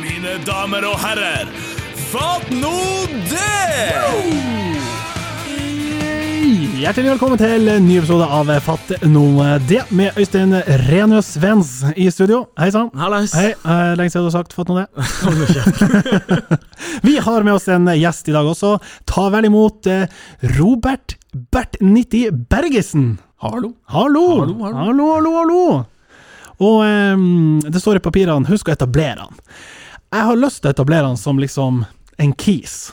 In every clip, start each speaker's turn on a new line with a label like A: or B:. A: mine damer og herrer. Fatt nå det!
B: Hjertelig velkommen til en ny episode av Fatt noe det, med Øystein Renøs Vens i studio. Hei sann.
C: Hallais.
B: Hei, eh, lenge siden du har sagt 'fatt nå det'. Vi har med oss en gjest i dag også. Ta vel imot eh, Robert Bert 90 Bergesen.
C: Hallo.
B: Hallo!
C: Hallo, hallo.
B: hallo, hallo, hallo. Og ehm, det står i papirene 'husk å etablere han'. Jeg har lyst til å etablere han som liksom en kis.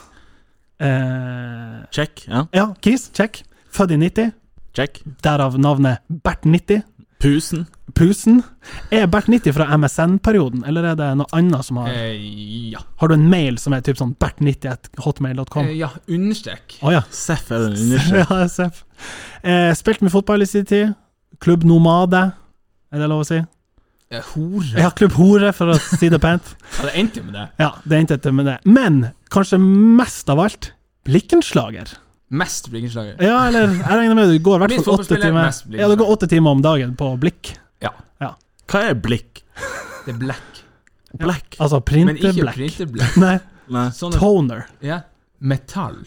B: Eh,
C: Check. Ja,
B: ja, kis, check. Født i 90,
C: check.
B: derav navnet Bert 90.
C: Pusen.
B: Pusen. Er Bert 90 fra MSN-perioden, eller er det noe annet som har
D: Eh, ja.
B: Har du en mail som er typ sånn bert90.hotmail.com?
D: Eh, ja. Understrek.
B: Å ja.
C: Seff er den undersøkt.
B: ja SF. Eh, spilt med fotball i sin tid. Klubb Nomade, er det lov å si?
D: Eh, hore.
B: Ja, Klubb Hore, for å si det pent.
D: Ja, det endte jo med det.
B: Ja, det endte etter med det. Men kanskje mest av alt Blikkenslager.
D: Mest blikkenslager.
B: Ja, eller jeg regner med du går i hvert
D: Minst
B: fall åtte
D: fotballspiller,
B: timer
D: mest
B: Ja, du går åtte timer om dagen på blikk.
D: Ja.
C: Hva er blikk?
D: Det er black.
C: Black?
B: Altså
D: Men ikke
B: printerblekk.
D: printerblekk.
B: Nei,
C: Nei.
D: Sånn at
B: toner.
D: Ja. Metall.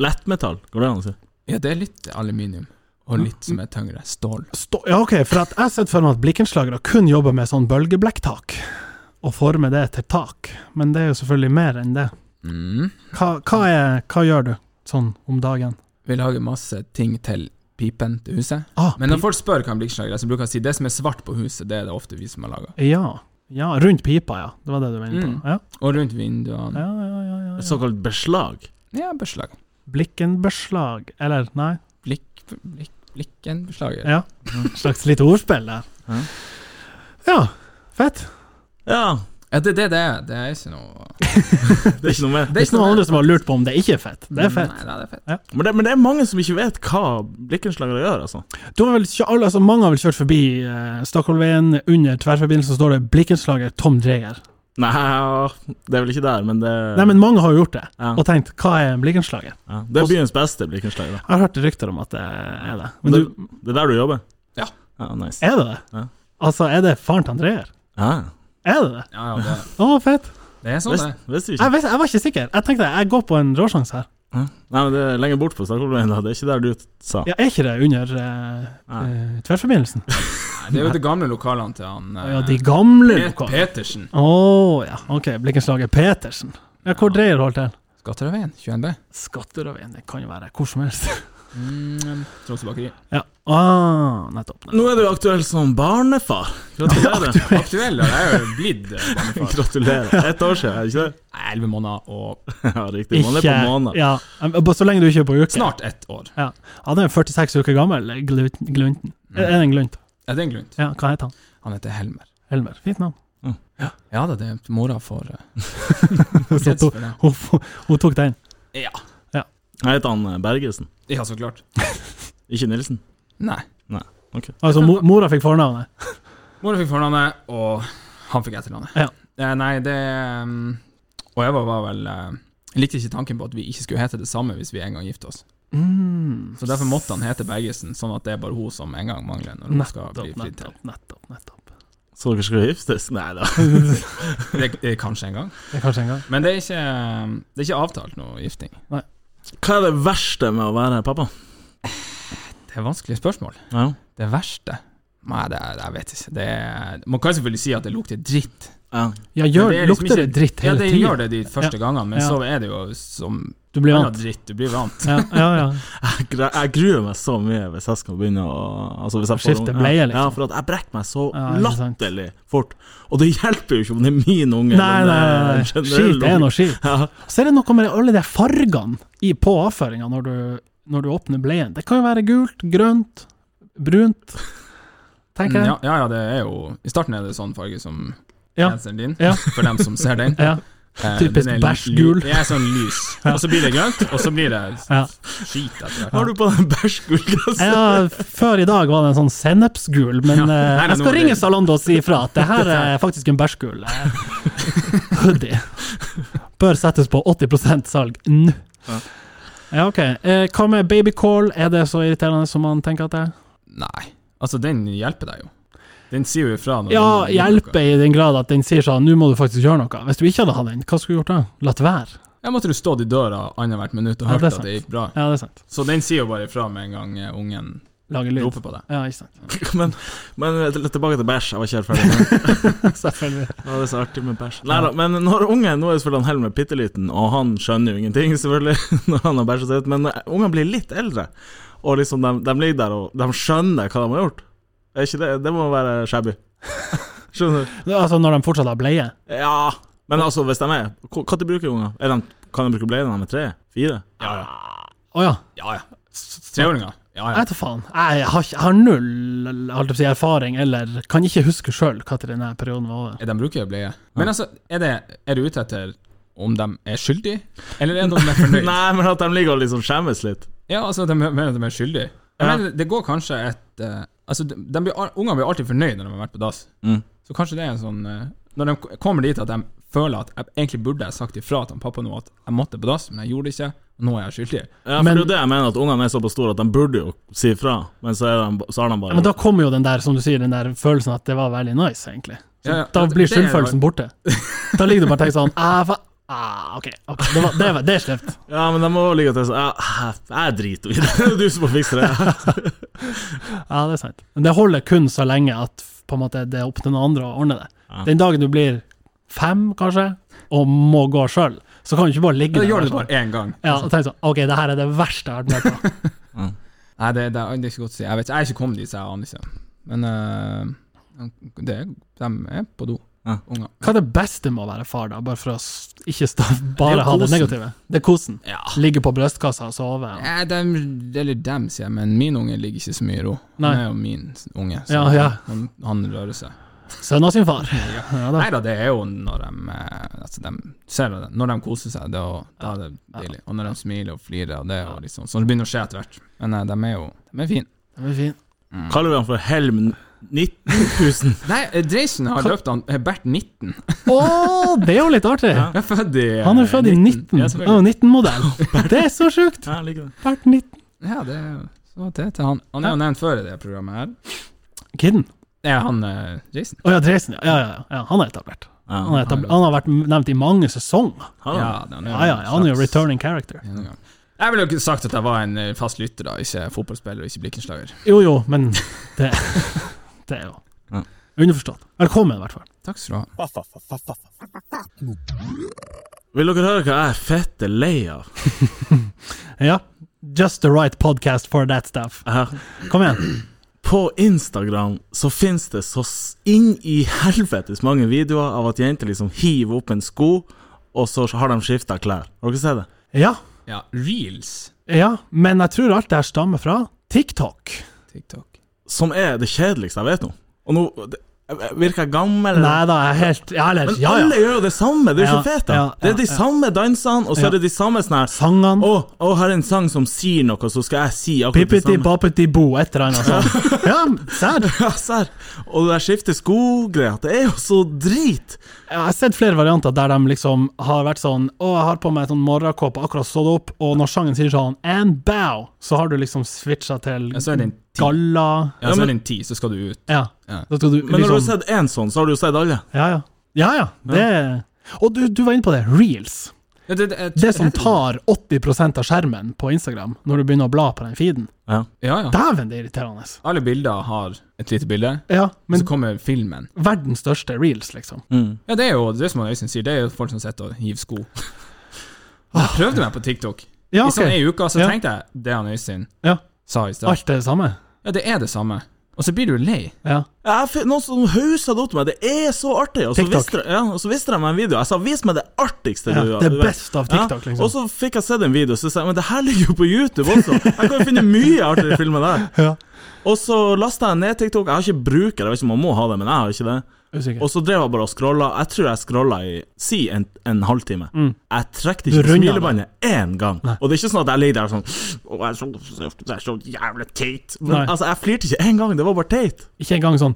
C: Lettmetall, går det an å si?
D: Ja, det er litt aluminium. Og litt som er tyngre. Stål.
B: Stå, ja, ok, for at jeg har sett for meg at blikkenslagere kun jobber med sånn bølgeblekktak, og former det til tak, men det er jo selvfølgelig mer enn det.
D: Mm.
B: Hva, hva, er, hva gjør du sånn om dagen?
D: Vi lager masse ting til pipen til huset.
B: Ah,
D: Men når folk spør hva en blikkenslager er, så bruker jeg å si det som er svart på huset, det er det ofte vi som har laga.
B: pi- ja, ja, rundt pipa, ja. Det var det du var inne på.
D: Mm.
B: Ja,
D: Og rundt vinduene.
B: ja, ja, ja, ja, ja.
C: Såkalt beslag?
D: Ja, beslag.
B: Blikkenbeslag, eller nei,
D: Blikk... blikk Blikkenbeslager.
B: Ja. slags lite ordspill der.
C: Ja.
B: Ja, fett.
C: Ja,
D: Ja, det er det det er. Det er ikke noe sånn
C: det er ikke noe mer.
B: Det er ikke noen andre som har lurt på om det ikke er fett. Det er fett.
D: Nei, nei, det er fett.
C: Men det, men det er mange som ikke vet hva blikkenslagere gjør, altså.
B: Du har vel kjø- alle, altså mange har vel kjørt forbi eh, Stakholveien, under tverrforbindelsen står det blikkenslager Tom Dreyer.
C: Nei, det er vel ikke der, men det
B: Nei, men mange har jo gjort det,
C: Ja.
B: og tenkt 'hva er en blikkenslager'?
C: ja. Det er byens beste blikkenslager.
B: Jeg har hørt rykter om at det er det. Men
C: Det,
B: du, Eh,
C: det er der du jobber?
D: Ja.
C: ja nice.
B: er det det?
C: Ja.
B: Altså, er det faren til Andreer?
C: Ja,
B: Er det det?
D: Ja, ja, det,
B: Å, fett.
D: det er sånn det er.
C: visste visste du ikke?
B: Jeg, vet, jeg var ikke sikker. Jeg tenkte jeg går på en råsjanse her.
C: Ja. Nei, men det er lenger bort på Stakholmveien, da. Det er ikke der du sa.
B: Ja, er ikke det under eh,
C: Nei.
B: eh, tverrforbindelsen?
D: Det er jo de gamle lokalene til han
B: Å
D: eh,
B: ja, de gamle
D: Pet-
B: lokalene.
D: Petersen.
B: Å ja, ok. Blikkenslager Petersen. Ja, hvor Dreyer holdt til?
D: Skatterøyveien 21B.
B: Skatteravien, det kan jo være hvor som helst.
D: Mm, Tromsø bakeri.
B: Ja, ah, nettopp.
C: Nå er du aktuell som barnefar. Gratulerer.
D: Aktuell, og jeg er jo blitt eh, barnefar.
C: Gratulerer. Ett år siden, er det ikke det?
D: Jeg er 11 måneder og
C: Ja, riktig. Man er på måned.
B: ja, bare så lenge du ikke er på uke.
D: snart ett år.
B: Han er 46 uker gammel, Glut- Glunten.
D: Mm.
B: Er er det en Glunt?
D: Ja, det er en grunn.
B: Ja, hva heter han?
D: Han heter Helmer.
B: Helmer. Fint navn.
D: Ja da, det er mora for eh,
B: Så
D: kreds
B: to-
D: for det.
B: hun, f- hun tok den.
D: Ja.
C: Jeg heter han eh, Bergesen,
D: ja, så klart.
C: ikke Nilsen.
D: Nei.
B: Altså, mo, mora fikk fornavnet.
D: Mora fikk fornavnet, og han fikk etternavnet.
B: Ja.
D: Eh, Nei, det mm, Og jeg var, var vel eh, jeg likte ikke tanken på at vi ikke skulle hete det samme hvis vi en gang gifter oss.
B: Mm,
D: Så derfor måtte han hete Bergesen, sånn at det er bare hun som en gang mangler når hun skal bli
B: nettopp,
D: fridd til.
B: nettopp, nettopp, nettopp.
C: Så dere skulle giftes? Nei da.
D: Det, det er kanskje en gang.
B: Det er kanskje en gang.
D: Men det er ikke, det er ikke avtalt noe gifting.
C: Hva er det verste med å være pappa?
D: Det er vanskelige spørsmål.
C: Ja.
D: Det verste Nei, det er, jeg vet ikke. Det er, man kan selvfølgelig si at det lukter dritt.
C: ja.
B: Ja, gjør,
D: Men det er liksom
B: lukter det
D: ikke-
B: dritt
D: Ja,
B: hele
D: det
B: tiden?
D: gjør det de første gangene, men
B: Ja.
D: så er det jo som
B: Du blir
D: annen
B: vant.
D: dritt. Du blir vant.
B: Ja, ja, ja.
C: Jeg, gre- jeg gruer meg så mye hvis jeg skal begynne å altså hvis jeg får
B: Skifte
C: unge.
B: bleie, liksom.
C: Ja, for at jeg brekker meg så
B: Ja, ikke sant.
C: latterlig fort. Og det hjelper jo ikke om det er min unge. eh,
B: Nei, nei, nei.
D: eh,
B: nei. Skit er nå skit.
C: Ja.
B: Så er det noe med alle de fargene i, på avføringa når, du- når du åpner bleien. Det kan jo være gult, grønt, brunt, tenker jeg.
D: Ja, Mm, ja, ja, det er jo I starten er det sånn farge som
B: Ja.
D: genseren din,
B: Ja.
D: for dem som ser den.
B: Ja.
D: Eh,
B: Typisk
D: den er
B: bæsjgul.
D: ly- Ja, sånn lys. Og så blir det grønt, og så blir det
B: Ja.
D: skit etter hvert.
C: Har du på deg bæsjgullglass?
B: Ja, før i dag var det en sånn sennepsgul, men
D: Ja.
B: eh,
D: Nei, nei,
B: jeg
D: nå
B: skal
D: er det-
B: ringe Zalando og si ifra at det her er faktisk en bæsjgul eh, hoodie. Bør settes på 80 salg nå.
C: Ja.
B: Ja, ok. Eh, hva med babycall? Er det så irriterende som man tenker at det er?
D: Nei. Altså, den hjelper deg jo. Den sier jo ifra. når
B: Ja,
D: den gjør noe.
B: hjelper i den grad at den sier sånn Nå må du faktisk gjøre noe. Hvis du ikke hadde hatt den, hva skulle du gjort da? Latt være?
D: Ja, måtte du stått i døra annethvert minutt og
B: Ja,
D: hørt
B: det er
D: at det
B: sant.
D: gikk bra.
B: Ja, det er sant.
D: Så den sier jo bare ifra med en gang eh, ungen
B: Lage lyd.
D: roper på deg.
B: Ja, ikke sant.
C: Men, men tilbake til bæsj. Jeg var ikke helt ferdig.
B: Selvfølgelig.
C: Ja, det er så artig med bæsj. Neida, men når ungen Nå er jo selvfølgelig han Helmer bitte liten, og han skjønner jo ingenting, selvfølgelig, når han har bæsja seg ut, men når ungen blir litt eldre, og liksom de, de ligger der og de skjønner hva de har gjort. Er ikke det Det må være shabby. Skjønner du?
B: Altså, når de fortsatt har bleie?
C: Ja. Men altså, hvis de er Når bruker unger? Er de, kan de bruke bleie når de er tre? Fire?
D: Ja, ja.
B: Å ja.
D: ja, ja. S- Treåringer. Ja,
B: Jeg
D: ja.
B: vet da faen. Jeg har, ikke- jeg har null holdt jeg på å si, erfaring, eller kan ikke huske sjøl når denne perioden var over.
D: Eh, De bruker jo bleie. Men altså, er, det, er du ute etter om de er skyldige, eller er det om de er fornøyd?
C: Nei, men at de ligger og liksom skjemmes litt.
D: Ja, altså, de mener at de er skyldige. Jeg
C: Ja.
D: mener, det går kanskje et eh, Altså, de, de blir, al- Ungene blir alltid fornøyd når de har vært på dass.
C: Mm.
D: Så kanskje det er en sånn eh, Når de k- kommer dit at de føler at jeg egentlig burde jeg sagt ifra til han pappa nå at jeg måtte på dass, men jeg gjorde det ikke, og nå er jeg skyldig.
C: Ja, for
B: Men-
C: det er jo det jeg mener, at ungene er såpass store at de burde jo si ifra, men så, er de, så har de bare
B: Ja, men da kommer jo den der, som du sier, den der følelsen at det var veldig nice, egentlig. Så
D: Ja, ja.
B: Da blir
D: Det er jo-
B: skyldfølelsen borte. Da ligger du bare og tenker sånn ah, fa ah, OK, ok, det, var, det, var, det er slemt.
C: Ja, men de må jo ligge til sånn ja, Jeg driter i det, det er du som får fikse det.
B: Ja, det er sant. Men det holder kun så lenge at på en måte, det er opp til noen andre å ordne det.
C: Ja.
B: Den dagen du blir fem, kanskje, og må gå sjøl, så kan du ikke bare ligge der.
D: Da
B: og
D: gjør du det
B: sånn.
D: bare én gang.
B: Ja, og tenke sånn OK, det her er det verste jeg har vært med på.
D: Nei, det, det, er- det er ikke godt å si. Jeg vet ikke, jeg er ikke kommet dit, så jeg aner ikke. Men eh, det, er- de er på do,
C: Ja.
D: unger.
B: Hva er det beste med å være far, da? Bare for å s- ikke sta bare
C: Det er
B: ha det
C: kosen.
B: negative. Det er kosen.
D: Ja.
B: Ligge på brystkassa og sove. og-
D: Eh, dem- eller dem, sier jeg, men min unge ligger ikke så mye i ro.
B: Nei.
D: Han er jo min unge, så
B: Ja, ja.
D: Han, han rører seg.
B: Sønn av sin far. Ja, da.
D: Nei da, det er jo når de, eh, altså, de ser det, når de koser seg, det, er jo- da er det deilig. Og når de smiler og flirer, og det er jo litt sånn. Så det begynner å skje etter hvert. Men eh, de er jo de er fine.
B: Den er fin.
C: Kaller vi han for Helm 19 000?
D: Nei, eh, Dreisen har døpt han eh, Bert 19.
B: Å, det er jo litt artig!
D: Jeg er født i eh,
B: Han er født i 19.
D: Ja,
B: Han er
D: selvfølgelig.
B: 19-modell. Det er så sjukt!
C: Ja, jeg liker det.
B: Vært 19.
D: Ja, det er jo så det til han. Han er jo nevnt før i det programmet her.
B: Kidden.
D: Det er han eh, Jason.
B: Å ja, Dreisen. Ja, ja, ja, ja. Han er etablert.
C: Ja.
B: Han, er etab- han har vært nevnt i mange sesonger.
C: Har han?
D: det
B: Ja, ja, ja, han er jo
D: slags-
B: returning character.
D: en gang. Jeg ville jo ikke sagt at jeg var en eh, fast lytter, da. Ikke fotballspiller og ikke blikkenslager.
B: Jo, jo, men det, det er jo
C: Ja.
B: Underforstått. Velkommen, i hvert fall.
D: Takk skal du ha.
C: Vil dere høre hva jeg er fette lei av?
B: Ja. Just the right podcast for that stuff.
C: Ja.
B: Kom igjen.
C: På Instagram så finnes det så s- inn i helvetes mange videoer av at jenter liksom hiver opp en sko, og så har de skifta klær. Har dere sett det?
B: Ja,
D: Ja, reels.
B: ja, men jeg tror alt det her stammer fra TikTok.
D: TikTok.
C: Som er det kjedeligste jeg vet nå. Og nå det, jeg- virker jeg gammel?
B: Nei da, jeg er helt Ja, eller
C: Men
B: ja,
C: alle
B: ja.
C: gjør jo det samme, det er jo
B: Ja,
C: så fett. da.
B: ja,
C: det er de
B: ja, ja.
C: samme dansene, og så
B: Ja.
C: er det de samme sånn her
B: Sangene.
C: Å, å, her er en sang som sier noe, så skal jeg si akkurat det
B: Pippiti
C: samme.
B: bappiti bo, et eller annet sånt. Ja, serr.
C: Ja, serr. Og det der skifte sko-greia, det er jo så drit.
B: Jeg har sett flere varianter der de liksom har vært sånn Å, jeg har på meg en sånn morgenkåpe, akkurat stått opp, og når sangen sier sånn And bow, så har du liksom switcha til
D: Ja, så er det en ti.
B: galla
D: Ja, så er det en ti, så skal du ut.
B: Ja.
D: Ja.
B: Da skal du
C: Men når du har
B: liksom
C: sett én sånn, så har du jo sett alle.
B: Ja, ja. Ja, ja. Det Og du, du var inne på det. Reels.
D: Ja, det, det, jeg-
B: Det sånn som tar 80 av skjermen på Instagram, når du begynner å bla på den feeden.
C: Ja.
D: Ja, ja.
B: Dæven, det er irriterende.
D: Alle bilder har et lite bilde,
B: Ja,
D: men
B: men
D: så kommer filmen.
B: verdens største reels, liksom.
C: Mm.
D: Ja, det er jo det er som han Øystein sier, det er jo folk som sitter og hiver sko. Jeg prøvde meg på TikTok.
B: Ah. Ja,
D: I sånn
B: ok.
D: ei uke så
B: Ja.
D: tenkte jeg det han Øystein
B: Ja.
D: sa i stad.
B: Alt er det samme.
D: Ja, det er det samme. Og så blir du lei.
B: Ja.
C: Jeg fikk noen som hausa det opp til meg. Det er så artig! Og så,
B: TikTok.
C: viste, ja, og så viste de meg en video. Jeg sa 'vis meg det artigste
B: ja.
C: du
B: Det
C: du vet».
B: best av TikTok,
C: Og
B: liksom.
C: så fikk jeg sett en video, så sa jeg men det her ligger jo på YouTube også. Jeg kan jo finne mye artigere filmer der.
B: Ja.
C: Og så lasta jeg ned TikTok. Jeg har ikke bruker, jeg vet ikke om man må ha det, men jeg har ikke det.
B: Usikker.
C: Og så drev jeg bare og scrolla. Jeg tror jeg scrolla i si en, en halvtime. Jeg
B: Mm.
C: trekte
B: Du
C: ikke på
B: rundet
C: smilebåndet én gang. Og det er ikke sånn at jeg ligger der sånn Å, jeg er så, jeg er så jævlig teit. Men
B: Nei.
C: altså, jeg flirte ikke én gang, det var bare teit.
B: Ikke engang sånn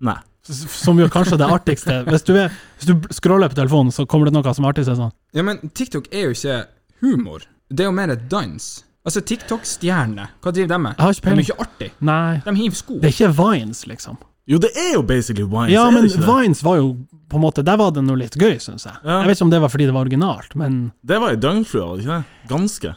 C: Nei.
B: som jo kanskje er det artigste. Hvis du, er, hvis du scroller på telefonen, så kommer det noe som er artig. så er det Sånn.
D: Ja, men TikTok er jo ikke humor. Det er jo mer et dans. Altså, TikTok-stjerner, hva driver de med?
B: Jeg har ikke
D: De er
B: peiling.
D: jo ikke artig.
B: Nei,
D: De hiver sko.
B: det er ikke vines, liksom.
C: Jo, det er jo basically Vines,
B: Ja,
C: er
B: men
C: det ikke det?
B: Vines var jo på en måte Der var det noe litt gøy, syns jeg.
C: Ja.
B: Jeg vet ikke om det var fordi det var originalt, men
C: Det var i døgnflua, var det ikke det? Ganske.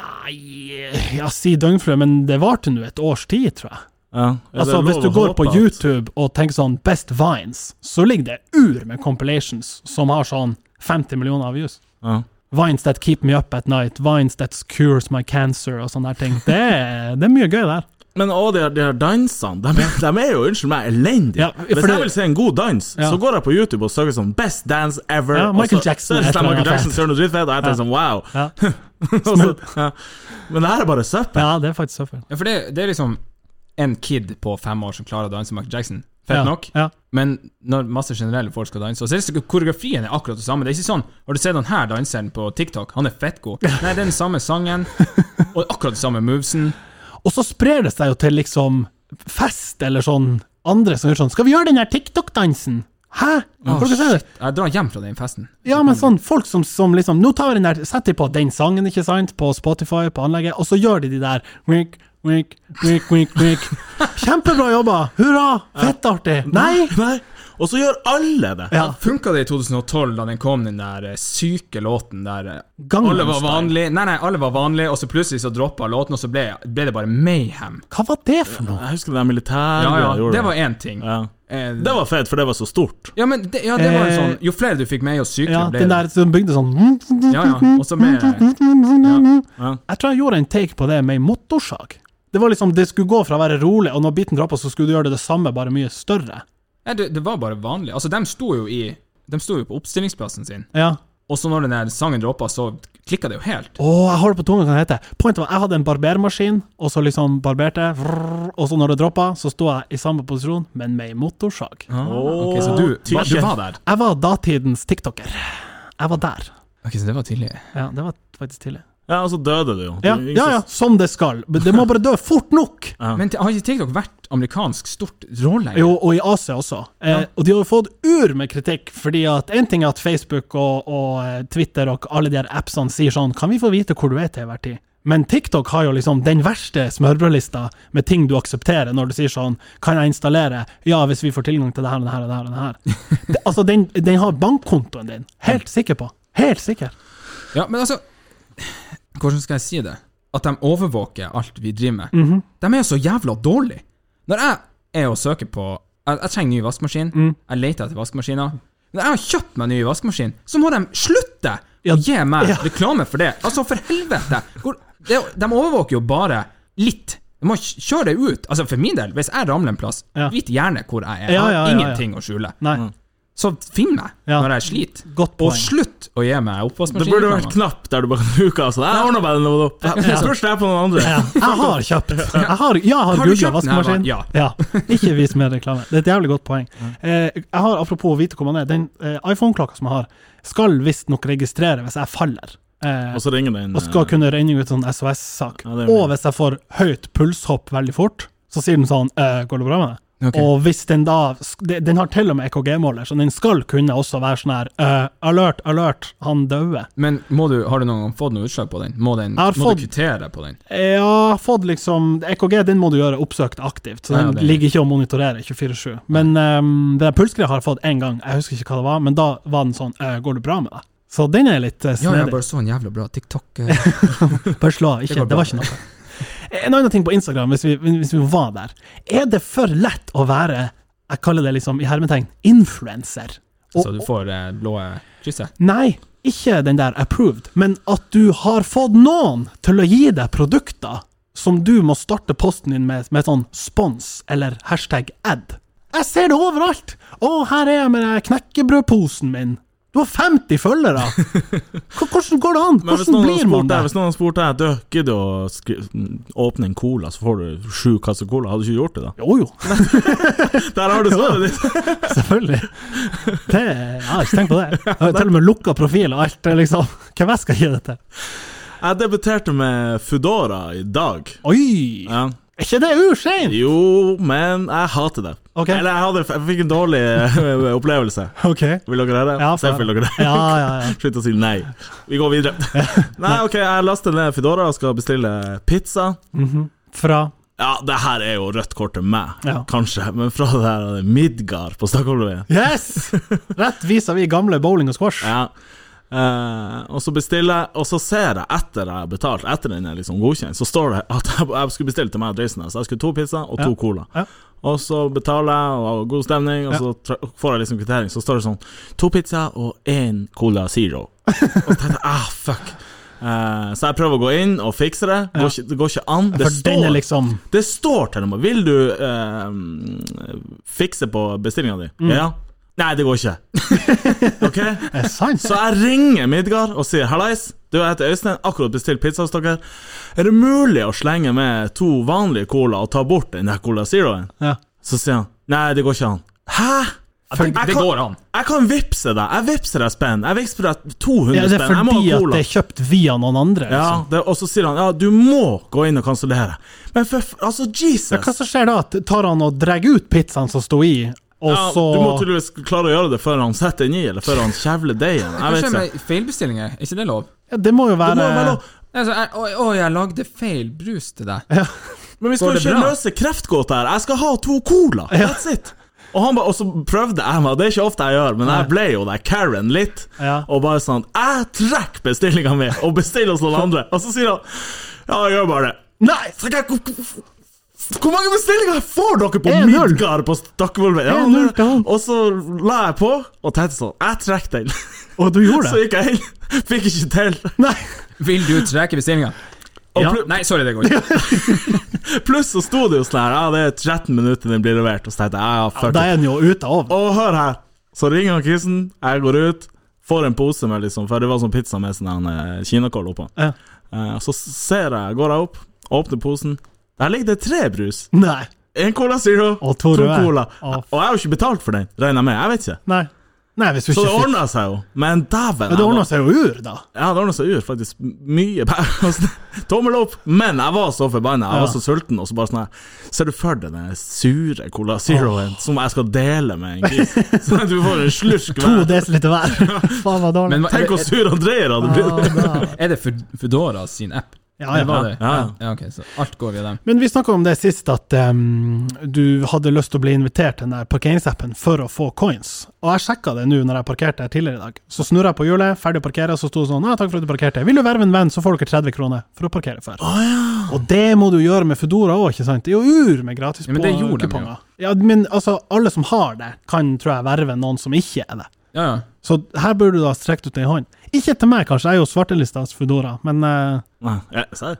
B: Nei, ja, si døgnflue, men det varte nå et års tid, tror jeg.
C: Ja. Er det
B: Altså,
C: lov
B: Hvis du
C: å
B: går på
C: håpe at-
B: YouTube og tenker sånn Best Vines, så ligger det ur med compilations som har sånn 50 millioner views.
C: Ja.
B: Vines that keep me up at night, vines that cures my cancer og sånne her ting. Det er, det er mye gøy der.
C: Men å, de her, de her dansene, de, de er jo unnskyld meg, elendige.
B: Ja, for
C: Hvis
B: det-
C: jeg vil se en god dans,
B: Ja.
C: så går jeg på YouTube og søker sånn 'Best dance ever'.
B: Ja, Michael
C: og så,
B: Jackson
C: Så er
B: er
C: det
B: et
C: sånn
B: eller annet
C: Michael Jackson ser noe dritfett, og jeg tenker sånn wow.
B: Ja,
C: Og så, Altså, ja. Men det her er bare søppel.
B: ja det er faktisk søppel.
D: Ja, for det, det er liksom en kid på fem år som klarer å danse Michael Jackson. Fett
B: Ja,
D: nok.
B: Ja.
D: Men når masse generelle folk skal danse, og så er det så- koreografien er akkurat det samme. Det er ikke sånn Har du sett den her danseren på TikTok? Han er fett god. Nei, det er den samme sangen, og akkurat den samme movesen.
B: Og så sprer det seg jo til liksom fest eller sånn andre som gjør sånn Skal vi gjøre den her TikTok-dansen? Hæ? Har dere sett det?
D: Jeg drar hjem fra den festen.
B: Ja, men sånn, folk som, som liksom Nå tar vi den der, setter de på den sangen, ikke sant, på Spotify, på anlegget, og så gjør de de der wink, wink, wink, wink, wink. Kjempebra jobba! Hurra! Fett artig! Nei!
C: Nei. Og så gjør alle det.
B: Ja,
D: Funka det i 2012, da den kom, den der eh, syke låten der eh,
B: Gangnam
D: Alle var
B: Style.
D: vanlig Nei, nei, alle var vanlige, og så plutselig så droppa låten, og så ble, ble det bare mayhem.
B: hva var det for noe?
C: Jeg husker det der militære
D: Ja, ja,
C: gjorde
D: det var én ting.
C: ja.
D: Eh,
C: Det var fett, for det var så stort.
D: Ja, men det, ja, det var en
B: Eh,
D: sånn Jo flere du fikk med, jo sykere
B: Ja,
D: ble
B: den der som bygde sånn
D: det. Ja, ja, og så mer ja.
B: Jeg tror jeg gjorde en take på det med en motorsag. Det var liksom, det skulle gå fra å være rolig, og når biten droppa, så skulle du gjøre det det samme, bare mye større.
D: Nei, det, det var bare vanlig. Altså, de sto jo i De sto jo på oppstillingsplassen sin,
B: Ja.
D: og så når den der sangen droppa, så klikka det jo helt.
B: Åh, jeg har det på tunga hva den heter. Pointet var, jeg hadde en barbermaskin, og så liksom barberte jeg, vrrr, og så når det droppa, så sto jeg i samme posisjon, men med en motorsag.
D: Ah, Ok, så Altså, du,
C: Åh,
D: va, du
C: tykk.
D: var der?
B: Jeg var datidens tiktoker. Jeg var der.
D: Ok, så det var tidlig.
B: Ja, det var faktisk tidlig.
C: Ja, og så døde det jo.
B: Ja, ja, ja, som det skal. Men Det må bare dø fort nok!
D: Men har ikke TikTok vært amerikansk stort råleie?
B: Jo, og i Asia også. Eh, og de har jo fått ur med kritikk, fordi at én ting er at Facebook og, og eh, Twitter og alle de her appsene sier sånn Kan vi få vite hvor du er til hver tid? Men TikTok har jo liksom den verste smørbrødlista med ting du aksepterer, når du sier sånn Kan jeg installere? Ja, hvis vi får tilgang til det her og det her og det her. Og det her. Det, altså, den, den har bankkontoen din. Helt sikker på. Helt sikker.
D: Ja, men altså Hvordan skal jeg si det? At de overvåker alt vi driver med.
B: Mhm.
D: De er jo så jævla dårlige. Når jeg er og søker på Jeg, jeg trenger ny vaskemaskin,
B: Mm.
D: jeg leter etter vaskemaskiner. Når jeg har kjøpt meg ny vaskemaskin, så må de slutte
B: Ja,
D: å gi meg
B: ja.
D: reklame for det. Altså, for helvete! Hvor, det, er jo- de overvåker jo bare litt. De må kj- kjøre det ut. Altså, for min del, hvis jeg ramler en plass,
B: Ja.
D: vit gjerne hvor jeg er. Jeg
B: Ja,
D: har
B: ja, ja, ja.
D: ingenting å skjule.
B: Nei.
D: Så finn meg
B: Ja.
D: når jeg sliter.
B: Godt poeng.
D: Og slutt å gi meg
C: Det
D: oppvaskmaskin.
C: burde vært knapp der du bare kan luke av sånn. Jeg ordner bare noe opp. Spørs det på noen andre.
B: Ja, jeg har kjøpt. Jeg har, ja, jeg har,
D: Har du
B: googla
D: kjøpt den her,
B: vaskemaskin.
D: Maren? Ja.
B: Ikke vis mer reklame. Det er et jævlig godt poeng. Eh, jeg har, Apropos å vite hvor man er, den eh, iPhone-klokka som jeg har, skal visstnok registrere hvis jeg faller. Eh,
C: Og så ringer eh, den
B: og skal kunne regne ut sånn SOS-sak.
C: Ja, det er mye.
B: og hvis jeg får høyt pulshopp veldig fort, så sier den sånn eh, 'Går det bra med deg?'
D: Ok.
B: Og hvis den da sk- de- Den har til og med EKG-måler, så den skal kunne også være sånn her eh, 'Alert, alert, han dauer'.
D: Men må du, har du noen gang fått noe utslag på den? Må, den,
B: Jeg har
D: må
B: fått-
D: du kvittere på den?
B: Jeg har fått liksom EKG den må du gjøre oppsøkt aktivt, så
D: Ja,
B: den
D: det er-
B: ligger ikke og monitorerer 24-7. Men um, det der pulsgreia har jeg fått én gang, jeg husker ikke hva det var, men da var den sånn «Eh, Går det bra med deg? Så den er litt eh,
D: Ja, jeg
B: snedig.
D: bare så en jævla bra TikTok. eh,
B: Bare slå av, ikke.
D: går
B: Det, var ikke noe. En annen ting på Instagram, hvis vi, hvis vi var der. Er det for lett å være, jeg kaller det liksom i hermetegn, influenser?
D: Så du får eh, blå krysset.
B: Nei, ikke den der approved, men at du har fått noen til å gi deg produkter som du må starte posten din med, med sånn spons eller hashtag ad. Jeg ser det overalt! Å, her er jeg med den knekkebrødposen min. Du har 50 følgere! H- Hvordan går det an?
C: Men hvis
B: Hvordan blir man
C: noen spurte
B: det?
C: hvis noen spurte deg Du gidder du å skri- åpne en cola, så får du sju kasser cola. Hadde du ikke gjort det, da?
B: Jo jo,
C: Der har du svaret ditt!
B: selvfølgelig. Det, jeg har ikke tenkt på det. Jeg har til og med lukka profil og alt. det er Liksom. Hvem jeg skal gi det til?
C: Jeg debuterte med Foodora i dag.
B: Oi!
C: Ja.
B: Er ikke det useint?
C: Jo, men jeg hater det.
B: Ok.
C: Eller jeg, hadde, jeg fikk en dårlig eh, opplevelse.
B: Ok.
C: Vil dere høre?
B: Ja,
C: Seff, vil dere
B: Ja,
C: høre?
B: ja, ja.
C: Slutt å si nei. Vi går videre. Nei, ok, jeg laster ned Foodora og skal bestille pizza
B: Fra
C: Ja, det her er jo rødt kort til meg,
B: Ja.
C: kanskje, men fra det her er det Midgard på Stakkolveien.
B: Yes! Rett vis-à-vis gamle bowling og squash.
C: Ja. Eh, og så bestiller jeg, og så ser jeg etter jeg har betalt, etter den er liksom godkjent, så står det at jeg, jeg skulle bestille til meg og Jason. her, Så jeg skulle to pizza og to
B: Ja.
C: cola.
B: Ja.
C: Og så betaler jeg, og har god stemning, og så tra- får jeg liksom kvittering. Så står det sånn to pizza og én cola zero. Og så tenkte jeg ah, fuck. Eh, så jeg prøver å gå inn og fikse det. Går ikke, det går ikke an. Det
B: For den er liksom
C: det står til og med Vil du eh, fikse på bestillinga di?
B: Mm.
C: Ja. Nei, det går ikke. ok?
B: er det sant.
C: Så jeg ringer Midgard og sier hallais. Du, jeg heter Øystein, akkurat bestilt pizza hos dere. Er det mulig å slenge med to vanlige cola og ta bort den der Cola Zeroen?
B: Ja.
C: Så sier han nei, det går ikke an. Hæ?
D: For det
C: kan-
D: går an.
C: Jeg kan vippse deg. Jeg vippser deg spenn. Jeg vippser deg 200
B: Ja, det er
C: spenn. Jeg må
B: fordi
C: ha
B: at
C: cola.
B: det er kjøpt via noen andre. Liksom.
C: Ja, det, og så sier han ja, du må gå inn og kansellere. Men for f- Altså, Jesus!
B: Hva som skjer da? At Tar han og drar ut pizzaen som sto i, og
C: Ja,
B: så
C: Du må tydeligvis klare å gjøre det før han setter den i, eller før han kjevler deigen.
D: Hva
C: Jeg vet
D: skjer
C: ikke.
D: med feilbestillinger? Er ikke det lov?
B: ja, Det må jo
C: Det
B: være
C: må være lov.
D: Altså, jeg, å, å, jeg lagde feil brus til deg.
C: Men vi skal
D: Går
C: jo
D: det
C: ikke
D: bra?
C: løse kreftgåta her. Jeg skal ha to cola. That's it. Og, han ba, og så prøvde jeg meg, det er ikke ofte jeg gjør, men jeg ble jo der Karen litt.
B: Ja.
C: Og bare sånn Jeg trekker bestillinga mi og bestiller hos noen andre. Og så sier han Ja, jeg gjør bare det.
B: Nei!
C: Så kan jeg, hvor mange bestillinger får dere på
B: 1-0.
C: Midgard på Stakkevolvet? Ja,
B: 1-0 til han.
C: og så la jeg på og tenkte sånn Jeg trekker den.
B: Og du gjorde
C: Så
B: det?
C: gikk jeg inn, fikk ikke til.
B: Nei!
D: Vil du trekke bestillinga?
C: Og
B: Ja.
C: pl
D: Nei, sorry, det går ikke.
C: pluss så sto det jo sånn her Ja, det er 13 minutter til den blir levert. Og så tenkte jeg ja, fuck
B: Da
C: it.
B: er den jo ute av.
C: Og hør her! Så ringer han Kristen, jeg går ut, får en pose med liksom For det var sånn pizza med sånn her, eh, kinakål oppå.
B: Ja.
C: Eh, Så ser jeg, går jeg opp, åpner posen. Der ligger det tre brus.
B: Nei.
C: En Cola Zero,
B: Og to røde.
C: cola.
B: Å,
C: Og jeg har jo ikke betalt for den, regner jeg med. Jeg vet ikke.
B: Nei. Nei, hvis du ikke
C: Så det
B: fikk
C: ordna seg jo. Men dæven.
B: Men det
C: jeg
B: ordna
C: var-
B: seg jo ur, da.
C: Ja, det ordna seg ur, faktisk. Mye penger. Altså, Tommel opp! Men jeg var så forbanna. Jeg
B: Ja.
C: var så sulten. Og så bare sånn her Ser du for deg den sure Cola Zeroen som jeg skal dele med en gris? Sånn at du får en slurk
B: To
C: hver.
B: desiliter hver. Faen, var dårlig.
D: Men hva-
C: Tenk hvor
D: er,
C: sur André hadde blitt.
B: ja,
D: er det Fed- Foodora sin app?
B: ja,
D: Det var
B: ja.
D: det.
C: Ja, ja.
D: ja, ok, så alt går via dem.
B: Men vi snakka om det sist, at em, du hadde lyst til å bli invitert til den der parkeringsappen for å få coins. Og jeg sjekka det nå når jeg parkerte her tidligere i dag. Så snurra jeg på hjulet, ferdig å parkere, så sto det sånn ja, 'Takk for at du parkerte. Vil du verve en venn, så får dere 30 kroner for å parkere for'. Og det må du gjøre med Foodora òg, ikke sant? Det er jo ur med gratis
D: Ja, men det gjorde de jo.
B: kuponger. Ja, men altså, alle som har det, kan tror jeg verve noen som ikke er det.
D: Ja, ja.
B: Så her burde du ha strekt ut ei hånd. Ikke til meg, kanskje, jeg er jo svartelista hos Foodora, men eh,
C: Nei, ja, serr?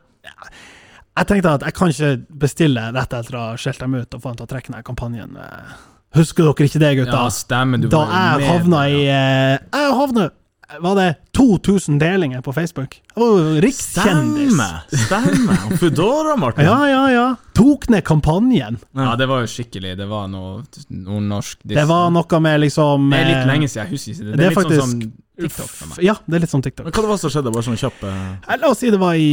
B: jeg tenkte at jeg kan ikke bestille rett etter å ha skjelt dem ut og få dem til å trekke ned kampanjen. Eh, Husker dere ikke det, gutta?
D: ja stemmer. Du
B: da
D: var jo
B: jeg
D: med
B: havna
D: der,
B: i
D: ja.
B: eh, Jeg havna Var det 2000 delinger på Facebook? Jeg var jo rikskjendis.
C: Stemmer! Stemmer. Foodora, Martin.
B: Ja, ja, ja. Tok ned kampanjen.
D: Ja, det var jo skikkelig. Det var noe nordnorsk
B: Det var noe med liksom
D: Det er litt
B: eh,
D: lenge siden, jeg husker ikke. Det,
B: det
D: det
B: er
D: er litt
B: faktisk-
D: sånn som TikTok for meg.
B: Ja, det er litt som TikTok.
C: Men hva det var som skjedde? Bare sånn kjapp eh,
B: Eh, La oss si det var i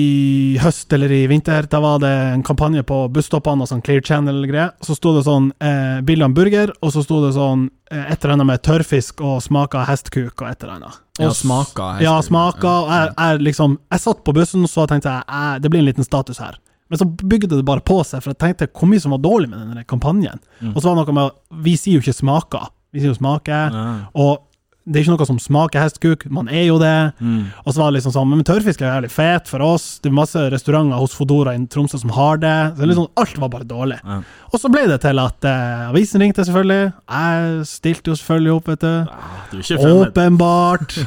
B: høst eller i vinter. Da var det en kampanje på busstoppene og sånn Clear Channel-greie. Så sto det sånn eh, bilde av en burger, og så sto det sånn eh, et eller annet med tørrfisk og smak av hestkuk og et eller annet.
D: Ja,
B: Og s-
D: smaka. jeg
B: Ja,
D: husker.
B: smaka. Og jeg, jeg liksom Jeg satt på bussen, så tenkte jeg eh, det blir en liten status her. Men så bygde det bare på seg, for jeg tenkte hvor mye som var dårlig med den der kampanjen.
C: Mm.
B: Og så var det noe med Vi sier jo ikke smaka, vi sier jo smake.
C: ja.
B: Og det er ikke noe som smaker hestkuk, man er jo det.
C: Mm.
B: Og så var det liksom sånn, men tørrfisk er jo jævlig fet for oss, det er masse restauranter hos Fodora i Tromsø som har det. Så det er liksom, alt var bare dårlig.
C: Ja.
B: Og så ble det til at eh, avisen ringte, selvfølgelig. Jeg stilte jo selvfølgelig opp, vet du.
C: Ah, Du er ikke fremmed.
B: Åpenbart.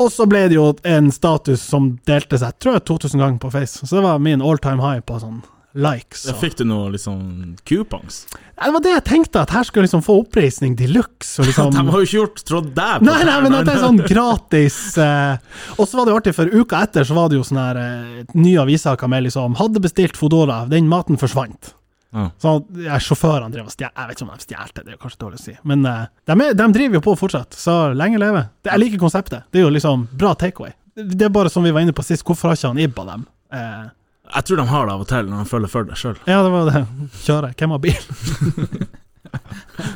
B: Og så ble det jo en status som delte seg, tror jeg, 2000 ganger på Face. Så det var min all time high på sånn likes.
C: Ja,
B: og-
C: Fikk du noe liksom kupongs?
B: Ja, Det var det jeg tenkte, at her skulle jeg liksom få oppreisning de luxe. og Liksom,
C: De har jo ikke gjort trådd deg på
B: Nei, nei, men at det er
C: tærne.
B: sånn gratis eh. Og så var det jo artig, for uka etter så var det jo sånn her eh, nye avisaker med liksom Hadde bestilt Foodora, den maten forsvant.
C: Ja.
B: Så ja, sjåførene drev og stjal Jeg vet ikke om de stjal det, det er jo kanskje dårlig å si. Men eh, de, er, de driver jo på fortsatt, så lenge leve. Det, jeg liker konseptet. Det er jo liksom bra takeaway. Det det er bare som vi var inne på sist, hvorfor har ikke han Ibba dem? Eh,
C: Jeg tror de har det av og til når de følger for det sjøl.
B: ja, det var det. Kjøre. Hvem har bil?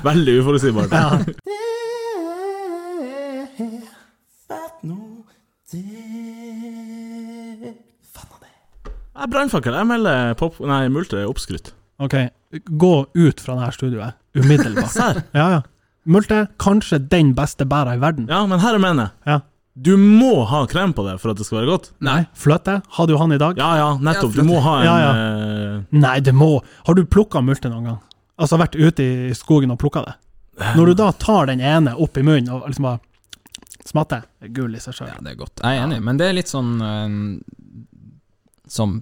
C: Veldig uforutsigbart.
B: Ja.
C: Jeg brannfakkel. Jeg melder pop... Nei, multer er oppskrytt.
B: OK, gå ut fra dette studioet. Umiddelbart.
C: Serr?
B: Ja, ja. Multe, kanskje den beste bæra i verden.
C: Ja, men her er menet.
B: Ja.
C: Du må ha krem på det for at det skal være godt.
B: Nei, fløte. Hadde du han i dag?
C: Ja ja, nettopp. Du må ha en
B: Ja, ja.
C: eh,
B: Nei, det må Har du plukka multe noen gang? Altså vært ute i skogen og plukka det? Når du da tar den ene opp i munnen og liksom bare smatter, det er gull i seg sjøl.
D: Ja, det er godt. Jeg er enig, men det er litt sånn eh, Som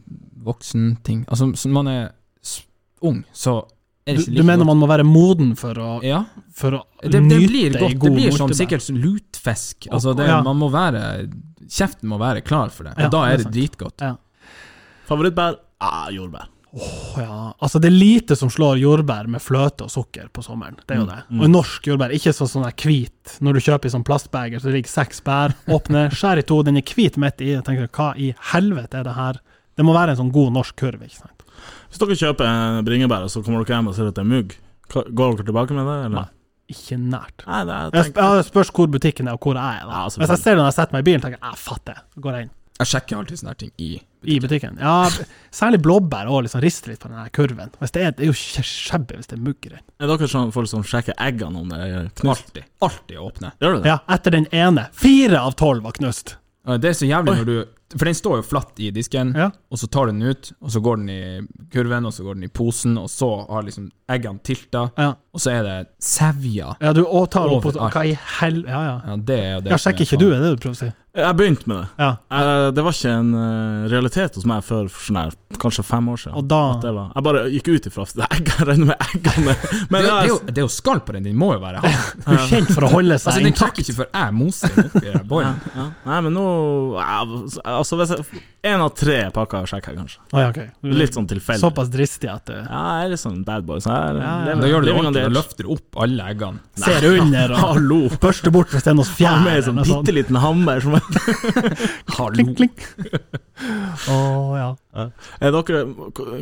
D: voksenting Altså, som man er s- ung, så
B: Du,
D: er det ikke
B: du mener man må være moden for å,
D: Ja.
B: for å
D: Det, det blir
B: nyte
D: godt.
B: ei
D: Det
B: god
D: blir som
B: multebær?
D: sikkert sånn lutfisk. Altså, det,
B: Ja.
D: man må være Kjeften må være klar for det, og
B: Ja,
D: da er
B: det
D: det,
B: er
D: dritgodt.
C: favorittbær. Ah, jordbær.
B: Å ja. Altså, det er lite som slår jordbær med fløte og sukker på sommeren. Det er jo det. Og norsk jordbær, ikke sånn sånn der hvit. Når du kjøper i sånn plastbeger, så ligger seks bær åpne, skjær i to, den er hvit midt i. Jeg tenker, hva i helvete er det her? Det må være en sånn god norsk kurv, ikke sant?
C: Hvis dere kjøper en bringebær, og så kommer dere hjem og ser at det er mugg, hva- går dere tilbake med det? Eller?
B: Nei. Ikke nært.
C: Nei, det er,
B: Jeg
C: jeg
B: sp- ja, det spørs hvor butikken er, og hvor jeg er. Da.
C: Ja, selvfølgelig.
B: Hvis jeg ser det når jeg setter meg i bilen, tenker jeg jeg fatter, Så går jeg inn.
D: Jeg sjekker alltid sånne her ting i
B: I butikken. Ja, særlig blåbær og liksom rister litt på den her kurven. Hvis det, er, det er jo kje- skjebbe hvis det er mugg i den.
C: Er dere sånn folk som sjekker eggene om det er knust?
D: Alltid. Alltid åpne.
C: Gjør du det?
B: Ja, etter den ene. Fire av tolv var knust.
D: Og Det er så jævlig når du For den står jo flatt i disken,
B: Ja.
D: og så tar du den ut, og så går den i kurven, og så går den i posen, og så har liksom eggene tilta,
B: Ja.
D: og så er det sevja.
B: Ja, du og tar opp og
D: Overalt.
B: Hva i hel... Ja, ja.
D: Ja, det er sånn. jo det
B: Ja,
D: som
B: sjekker ikke
D: faen.
B: du, er det du prøver å si?
C: Jeg begynte med det.
B: Ja.
C: Jeg, det var ikke en eh, realitet hos meg før for sånn her, kanskje fem år siden.
B: Og da
C: At det var, jeg bare gikk ut ifra at det er eggene regner med eggene.
D: Det,
C: Men
D: er jo- det, er
C: jeg,
D: jo, det er jo skall på den, den må jo være hard.
B: Du er kjent for å holde
D: Altså,
B: seg
D: den
B: intakt.
D: knekker ikke før jeg moser den oppi den bollen.
C: ja, nei, men nå ja, Altså, hvis jeg Én av tre pakker sjekker jeg, kanskje.
B: Å, ja, ok. Du er
C: Litt sånn tilfeldig.
B: Såpass dristig at eh, du
C: Ja, jeg er litt sånn bad boy. Så jeg,
B: Ja, ja.
C: lever-
D: Da gjør du det
C: living on the
D: ordentlig og
C: edge.
D: løfter opp alle eggene.
B: ser under og
C: Hallo!
B: børster bort hvis det er noe
C: Jeg har
B: fjær
C: med en
B: eller
C: sånn
B: noe sånt.
C: bitte liten hammer som
B: Klink, klink. Å, ja.
C: er dere,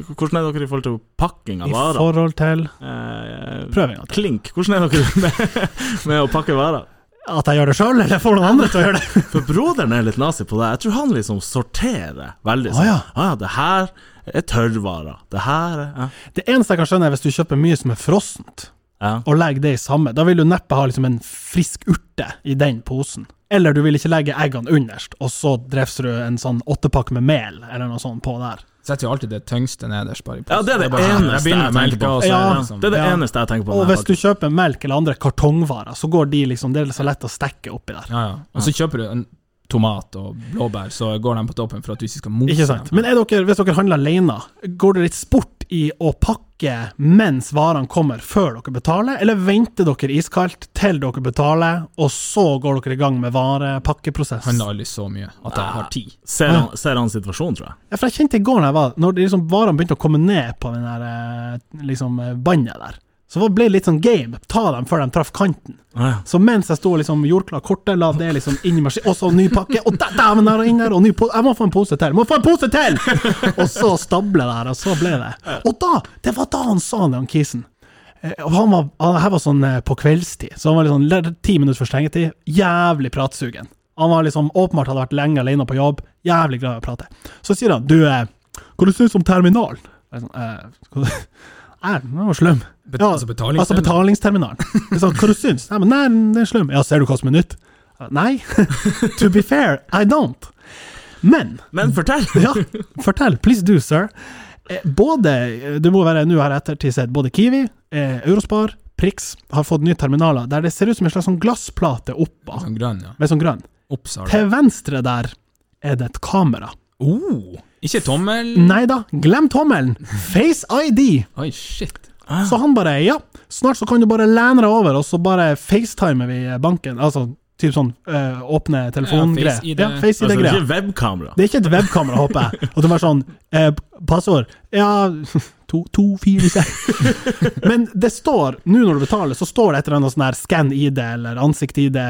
C: Hvordan er dere i forhold til pakking av
B: I
C: varer?
B: forhold til
C: Eh,
B: prøvinga.
C: Klink, hvordan er dere med, med å pakke varer?
B: At jeg gjør det sjøl, eller får noen andre til å gjøre det?
C: For broderen er litt nazi på det. Jeg tror han liksom sorterer veldig.
B: Å, ja.
C: ah, ja, det her er tørrvarer. Det her er ja.
B: Det eneste jeg kan skjønne, er hvis du kjøper mye som er frossent,
C: Ja.
B: og legger det i samme. Da vil du neppe ha liksom en frisk urte i den posen. Eller du vil ikke legge eggene underst, og så drefser du en sånn åttepakke med mel eller noe sånt på der.
D: Setter jo alltid det tyngste nederst, bare i posen.
C: Ja, det er det
D: bare sånn,
C: eneste
D: Jeg begynner med
C: jeg tenker
D: melka,
C: på.
D: og så er
B: Ja.
D: det liksom
C: Det er det
B: Ja.
C: eneste jeg tenker på.
B: Og
C: når jeg
B: hvis du kjøper melk eller andre kartongvarer, så går de liksom, det er så lett å stekke oppi der.
D: Ja, ja. Og så kjøper du en tomat og blåbær, så går de på toppen for at du ikke skal mose
B: Ikke sant?
D: dem.
B: Men er dere, hvis dere handler alene, går det litt sport i å pakke mens varene kommer, før dere betaler? Eller venter dere iskaldt til dere betaler, og så går dere i gang med varepakkeprosess?
D: handler aldri så mye at jeg har tid.
C: Ser han, ser han situasjonen, tror jeg.
B: Ja, for jeg kjente i går når jeg var Når det liksom varene begynte å komme ned på den der eh, liksom eh, bandet der, så var- ble det litt sånn game. Ta dem før de traff kanten.
C: Ah, ja.
B: Så mens jeg sto og liksom jordkla kortet, la det liksom inn i maskinen, og så ny pakke, og da- dæven, der og inn der, og ny pose Jeg må få en pose til! Må få en pose til! Og så stable der, og så ble det. Og da, det var da han sa det, han kisen. Eh, Og han var, han, her var sånn eh, på kveldstid, så han var liksom le- ti minutter for stengetid. Jævlig pratsugen. Han var liksom åpenbart hadde vært lenge alene på jobb, jævlig glad i å prate. Så sier han, du, eh, hva du syns om terminalen? Jeg er sånn, eh, hva- Nei, den var slum.
D: Bet
B: Ja,
D: altså betaling
B: Altså betalingsterminalen. Jeg sa, hva du syns Nei, men nei, det er slum. Ja, ser du hva som er nytt? Nei. to be fair, I don't. Men
C: Men fortell!
B: Mm. ja, fortell. Please do, sir. Eh, Både, eh, det må være nå her ettertid sett, både Kiwi, eh, Eurospar, Prix har fått nye terminaler der det ser ut som en slags sånn glassplate oppå,
D: Sånn grønn, ja.
B: med sånn grønn.
D: Oppsal.
B: Til venstre der er det et kamera.
D: Oh, ikke tommel?
B: Nei da, glem tommelen! Face ID!
D: Oi, shit.
B: Så han bare ja, snart så kan du bare lene deg over, og så bare facetimer vi banken. Altså typ sånn eh, åpne telefongreier.
D: Face ID.
B: Ja,
C: Altså, det er
B: face-ID-greier.
C: ikke webkamera.
B: det er ikke et webkamera, håper jeg. Og det var sånn eh, Passord? Ja to, to, fire, seks Men det står, nå når du betaler, så står det et eller annet sånn her scan-ID eller ansikt-ID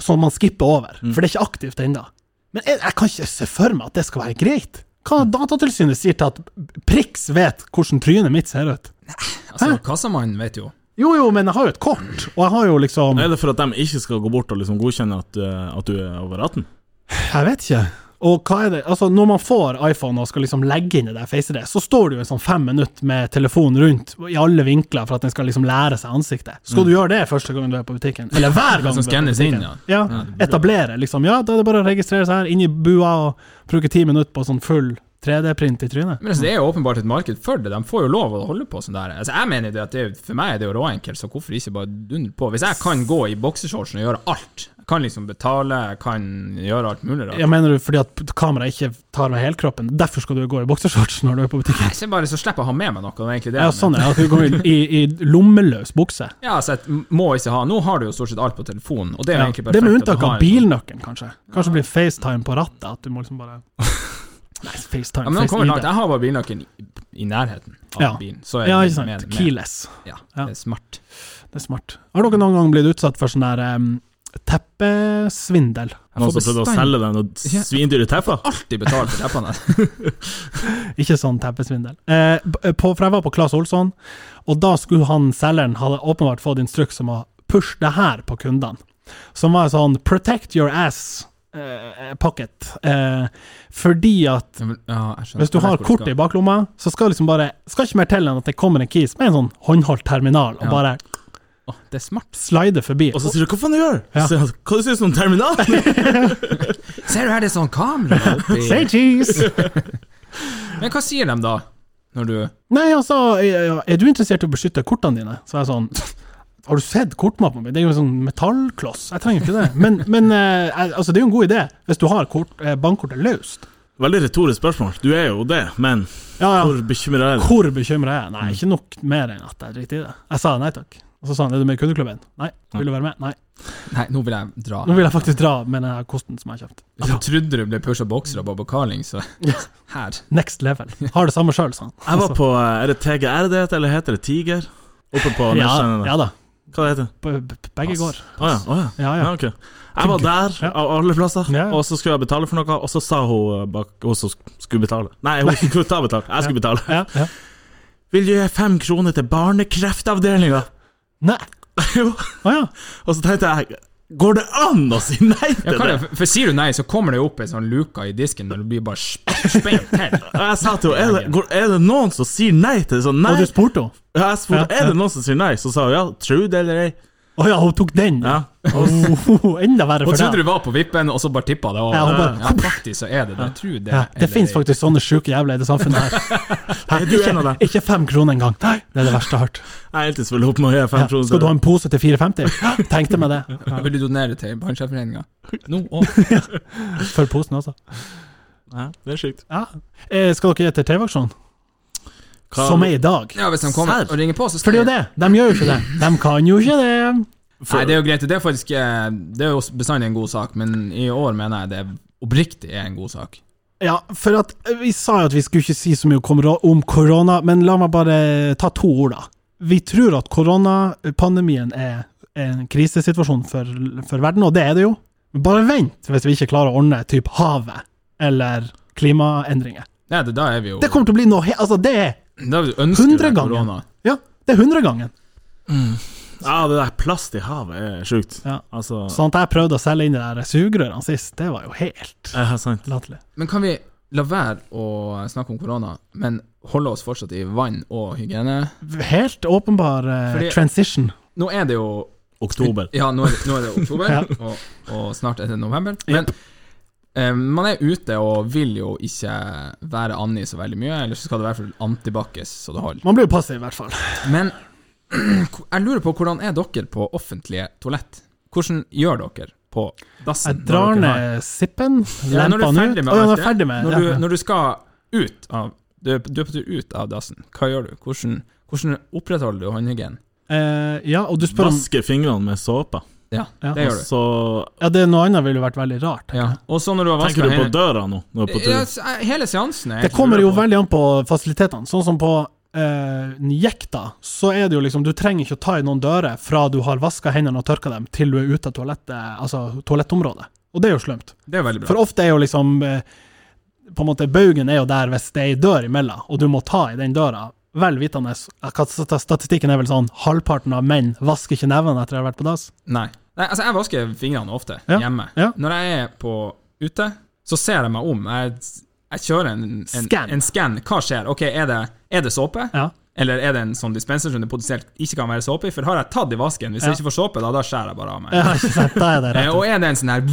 B: som man skipper over. For det er ikke aktivt ennå. Men jeg, jeg kan ikke se for meg at det skal være greit. Hva Datatilsynet sier til at Prix vet hvordan trynet mitt ser ut?
D: Altså, kassamannen vet jo.
B: Jo, jo, men jeg har jo et kort, og jeg har jo liksom
C: Er det for at de ikke skal gå bort og liksom godkjenne at, eh, at du er over 18?
B: Jeg vet ikke. Og hva er det? Altså, når man får iPhone og skal liksom legge inn det der FaceID, så står det jo en sånn fem minutter med telefonen rundt i alle vinkler for at den skal liksom lære seg ansiktet. Skal du gjøre det første gangen du er på butikken? Eller hver gang?
D: Som
B: du er på
D: skannes inn,
B: butikken?
D: ja.
B: Ja, etablere, liksom. Ja, da er det bare å registrere seg her, inn i bua og bruke ti minutter på sånn full 3D-print i trynet.
D: Men altså, det er jo åpenbart et marked for det. De får jo lov å holde på sånn der. Altså, jeg mener det at det, er- For meg er det jo råenkelt, så hvorfor ikke bare dundre på? Hvis jeg kan gå i boksershortsen og gjøre alt, jeg kan liksom betale, jeg kan gjøre alt mulig rart.
B: Jeg mener du fordi at kameraet ikke tar med helkroppen? Derfor skal du gå i boksershorts når du er på butikken?
D: Ikke bare så slipper jeg å ha med meg noe, det er egentlig det.
B: Ja,
D: jeg
B: sånn er det. At du går i, i, i lommeløs bukse.
D: mener. ja, så jeg må ikke ha Nå har du jo stort sett alt på telefonen, og det er jo
B: Ja.
D: egentlig perfekt.
B: Det med
D: at du
B: unntak
D: har
B: av
D: en sånn-
B: bilnøkkelen, kanskje. Kanskje det blir FaceTime på rattet. At du må liksom bare Nei, FaceTime,
D: Ja, men nå kommer jeg langt.
B: FaceID.
D: Jeg har bare bilnøkkelen i, i nærheten av
B: Ja.
D: bilen. Så er
B: Ja,
D: det
B: ikke sant.
D: liksom, med- med-
B: Keyless.
D: Ja,
B: Ja.
D: det er smart.
B: Det er smart. Har dere noen gang blitt utsatt for sånn der em, teppesvindel?
C: Noen som prøvde å
D: bestandig-
C: selge den og svindyre tepper?
D: Alltid betalt for teppene.
B: Ikke sånn teppesvindel. Eh, b- på, for jeg var på Claes Olsson, og da skulle han selgeren hadde åpenbart fått instruks om å pushe det her på kundene. Som var sånn 'protect your ass' eh, pocket. Eh, fordi at
D: Ja, men- ja, jeg skjønner.
B: hvis du
D: Jeg vet
B: har
D: hvor
B: kortet i
D: skal.
B: baklomma, så skal liksom bare skal ikke mer til enn at det kommer en kis med en sånn håndholdt terminal, og
D: Ja.
B: bare
D: Å, Det er smart.
B: slide forbi.
C: Og så sier du 'hva faen du gjør?'
B: Ja.
C: Så sier han 'hva du syns om terminalen?'
D: Ser du her, det er sånn kamera
B: Say
D: oppi
B: cheese!
D: Men hva sier de da? Når du
B: Nei, altså, er er du interessert i å beskytte kortene dine? Så er jeg sånn Har du sett kortmappen min? Det er jo en sånn metallkloss. Jeg trenger ikke det. Men, men eh, jeg- altså, det er jo en god idé, hvis du har kort, eh, bankkortet løst.
C: Veldig retorisk spørsmål. Du er jo det, men
B: Ja, ja.
C: hvor Mm. bekymra er du?
B: Hvor bekymra er jeg? Nei, ikke nok mer enn at jeg driter i det. Jeg sa nei takk. Og så sa han er du med i kundeklubben? Nei. Vil du være med? Nei.
D: Nei, nå vil jeg
C: Ah.
D: dra.
B: Nå vil jeg faktisk dra med denne kosten som jeg har kjøpt.
D: Jeg trodde du ble pusha bokser av Bobo Carling, så her.
B: Next level. Har det samme sjøl, sa han.
C: Jeg var på eh, Er det TGR det heter, eller heter det Tiger? Oppe på
B: Altså, ja,
C: Nesjøen.
B: ja da.
C: Hva det heter det?
B: B- b- Begge går.
C: Å ja. Å, ja.
B: Ja, ja.
C: Ja, ok. Jeg var der,
B: Ja.
C: av alle plasser,
B: Ja, ja.
C: og så skulle jeg betale for noe, og så sa hun eh, bak Hun som sk- skulle betale Nei, hun skulle ta betalt. Jeg skulle betale.
B: Ja, ja.
C: Vil du gi fem kroner til barnekreftavdelinga?
B: Nei.
C: Jo.
B: Å ja.
C: Og så tenkte jeg Går det an å si nei
D: Ja,
C: til
D: hva er
C: det?
D: det? For sier du nei, så kommer det jo opp ei sånn luke i disken når du blir bare sp- spengt til.
C: Og jeg sa til henne er, det- går- er det noen som sier nei til det? Sånn, nei.
B: Og du spurte henne?
C: Ja, jeg spurte,
B: Ja,
C: er
B: ja.
C: det noen som sier nei? Så sa hun ja, tro det eller ei.
B: Å ja, hun tok den?
C: Ja.
B: Oh, enda verre
D: Hun
B: for
D: trodde
B: deg.
D: du var på vippen, og så bare tippa det. Og,
B: Ja, hun bare-
D: ja, faktisk så er det det. Jeg tror det.
B: Ja, det
D: eller-
B: finnes faktisk sånne sjuke jævler i det samfunnet her. Hæ,
C: Er du en av
B: ikke,
C: dem?
B: ikke fem kroner engang. Nei, det er det verste jeg har hørt.
C: Jeg er helt til å opp med å gi fem
B: Ja.
C: kroner.
B: Skal du ha en pose til 450? Hæ, Tenkte meg det. Ja.
D: Vil du donere til Barneskjefforeninga? Nå òg.
B: Før posen også.
C: Ja, det er sjukt.
B: Ja. Eh, skal dere gi til TV-aksjonen?
C: Hva-
B: Som er i dag?
D: Ja, hvis de kommer
C: Serr?
D: og ringer på, så
B: For det er jo det. De gjør jo ikke det. De kan jo ikke det.
D: Nei, det er jo greit. Det er faktisk eh, Det er jo bestandig en god sak, men i år mener jeg det oppriktig er en god sak.
B: Ja, for at eh, vi sa jo at vi skulle ikke si så mye om kor- om korona, men la meg bare ta to ord, da. Vi tror at koronapandemien er en krisesituasjon for, for verden, og det er det jo. Men Bare vent hvis vi ikke klarer å ordne typ havet eller klimaendringer.
D: Nei, det, da er vi jo
B: Det kommer til å bli noe he Altså, det er
D: Da ønsker vi deg
B: 100 ganger.
D: korona.
B: Ja, det er hundregangen.
C: Ja, det der plast i havet er sjukt.
B: Ja.
C: Altså
B: Sånn at jeg prøvde å selge inn de der sugerørene sist, det var jo helt
C: Ja, sant.
B: latterlig.
D: Men kan vi la være å snakke om korona, men holde oss fortsatt i vann og hygiene?
B: Helt åpenbar eh,
D: Fordi-
B: transition.
D: Nå er det jo
C: Oktober.
D: Ja, nå er det, nå er det oktober,
B: Ja.
D: og, og snart er det november. Men eh, man er ute og vil jo ikke være Annie så veldig mye, eller så skal det være for antibac-es så det holder.
B: Man blir jo passiv, i hvert fall.
D: Men jeg lurer på hvordan er dere på offentlige toalett? Hvordan gjør dere på dassen?
B: Jeg
D: når
B: drar
D: dere har-
B: ned sippen,
D: Ja, når du
B: lemper
D: er
B: den ut.
D: ferdig med
B: Å ja, når jeg
D: alt det,
B: er ferdig med
D: når,
B: ja.
D: du, når du skal ut av du er, du er på tur ut av dassen, hva gjør du? Hvordan, hvordan opprettholder du håndhygienen?
B: Eh, ja, og du spør om
C: Vasker fingrene med såpe.
D: Ja,
B: Ja.
C: Og
D: det gjør du.
C: så
B: Ja, det er noe annet ville jo vært veldig rart. tenker
D: Ja.
B: jeg.
D: Og så når du har vasket
C: tenker du på
D: hendene-
C: døra nå. Når du er på
D: Ja,
C: tur.
D: s- hele seansen er
B: Det kommer jo veldig an på fasilitetene. Sånn som på eh, Njekta, så er det jo liksom Du trenger ikke å ta i noen dører fra du har vaska hendene og tørka dem, til du er ute av toalettet, altså toalettområdet. Og det er jo slemt.
D: Det er veldig bra.
B: For ofte er jo liksom eh, På en måte, baugen er jo der hvis det er ei dør imellom, og du må ta i den døra. Vel vitende hva sta- Statistikken er vel sånn halvparten av menn vasker ikke nevene etter å ha vært på dass.
D: Nei. Nei, altså jeg vasker fingrene ofte
B: Ja,
D: hjemme.
B: ja.
D: Når jeg er på ute, Så ser jeg meg om. Jeg, jeg kjører en, en,
B: Scan.
D: en scan. Hva skjer? Ok, Er det, er det såpe?
B: Ja.
D: Eller er det en sånn dispenser som det potensielt ikke kan være såpe i? For har jeg tatt i vasken, hvis
B: Ja.
D: jeg ikke får såpe, da, da skjærer jeg bare av meg.
B: Ja, ikke sant? Da er det
D: Eh,
B: rett.
D: Og er det en sånn her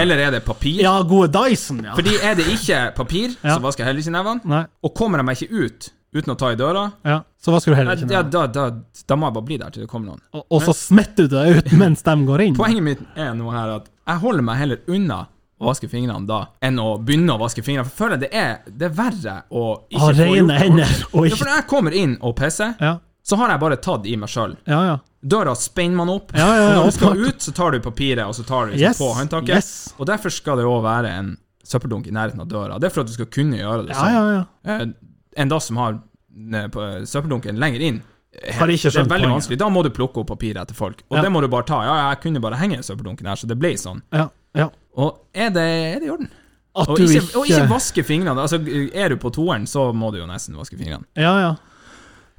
D: Eller er det papir?
B: Ja, gode Dyson, ja.
D: Fordi er det ikke papir,
B: Ja.
D: så vasker jeg heller ikke nevene.
B: Nei,
D: Og kommer jeg meg ikke ut uten å ta i døra,
B: ja. Så hva skulle du
D: ja,
B: heller ikke
D: da,
B: nevne?
D: da, da, må jeg bare bli der til det kommer noen.
B: Og, og så smetter du deg ut mens de går inn.
D: Poenget mitt er nå her at jeg holder meg heller unna å vaske fingrene da, enn å begynne å vaske fingrene. For jeg føler det er, det er verre å ikke
B: Ha
D: få gjort
B: rene
D: det
B: hender
D: ordentlig.
B: og
D: Ja, for
B: ikke
D: når jeg kommer inn og pisser,
B: Ja,
D: så har jeg bare tatt i meg sjøl.
B: ja. ja.
D: Døra spenner man opp.
B: Ja, ja, ja,
D: og når du skal
B: åpenbart.
D: ut, så tar du papiret og så tar du liksom
B: Yes,
D: på håndtaket.
B: yes.
D: Og derfor skal det òg være en søppeldunk i nærheten av døra. Det er for at du skal kunne gjøre det
B: Ja, ja, ja.
D: Eh, En dass som har eh, på, eh, søppeldunken lenger inn, eh,
B: Har ikke
D: det er
B: skjønt
D: veldig
B: poenget.
D: vanskelig. Da må du plukke opp papiret etter folk, og
B: Ja.
D: det må du bare ta. Ja, jeg kunne bare henge i søppeldunken her, så det ble sånn.
B: ja, ja.
D: Og er det, er det i orden?
B: At
D: Og
B: du
D: ikke,
B: ikke
D: og ikke vaske fingrene. Altså, er du på toeren, så må du jo nesten vaske fingrene.
B: Ja, ja.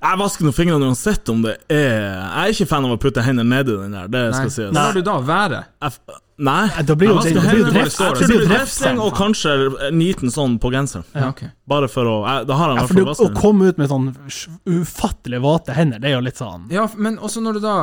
C: Jeg vasker nå fingrene uansett om det er Jeg er ikke fan av å putte hendene nedi den der, det skal sies.
D: Men lar du da være?
C: Jeg f- Nei.
B: Nei, Da blir jo det det
C: Jeg vasker
B: blir jo
C: hendene,
B: drept.
C: jeg tror
B: Det
C: det
B: blir jo
C: blir
B: drept.
C: dressing og kanskje en liten sånn på genseren.
D: Ja, ok.
C: Bare for å jeg, Da har han
B: Ja,
C: i
B: for du,
C: hvert
B: å
C: fall vasken.
B: komme ut med sånn ufattelig våte hender, det er jo litt sånn
D: Ja, f- men også når du da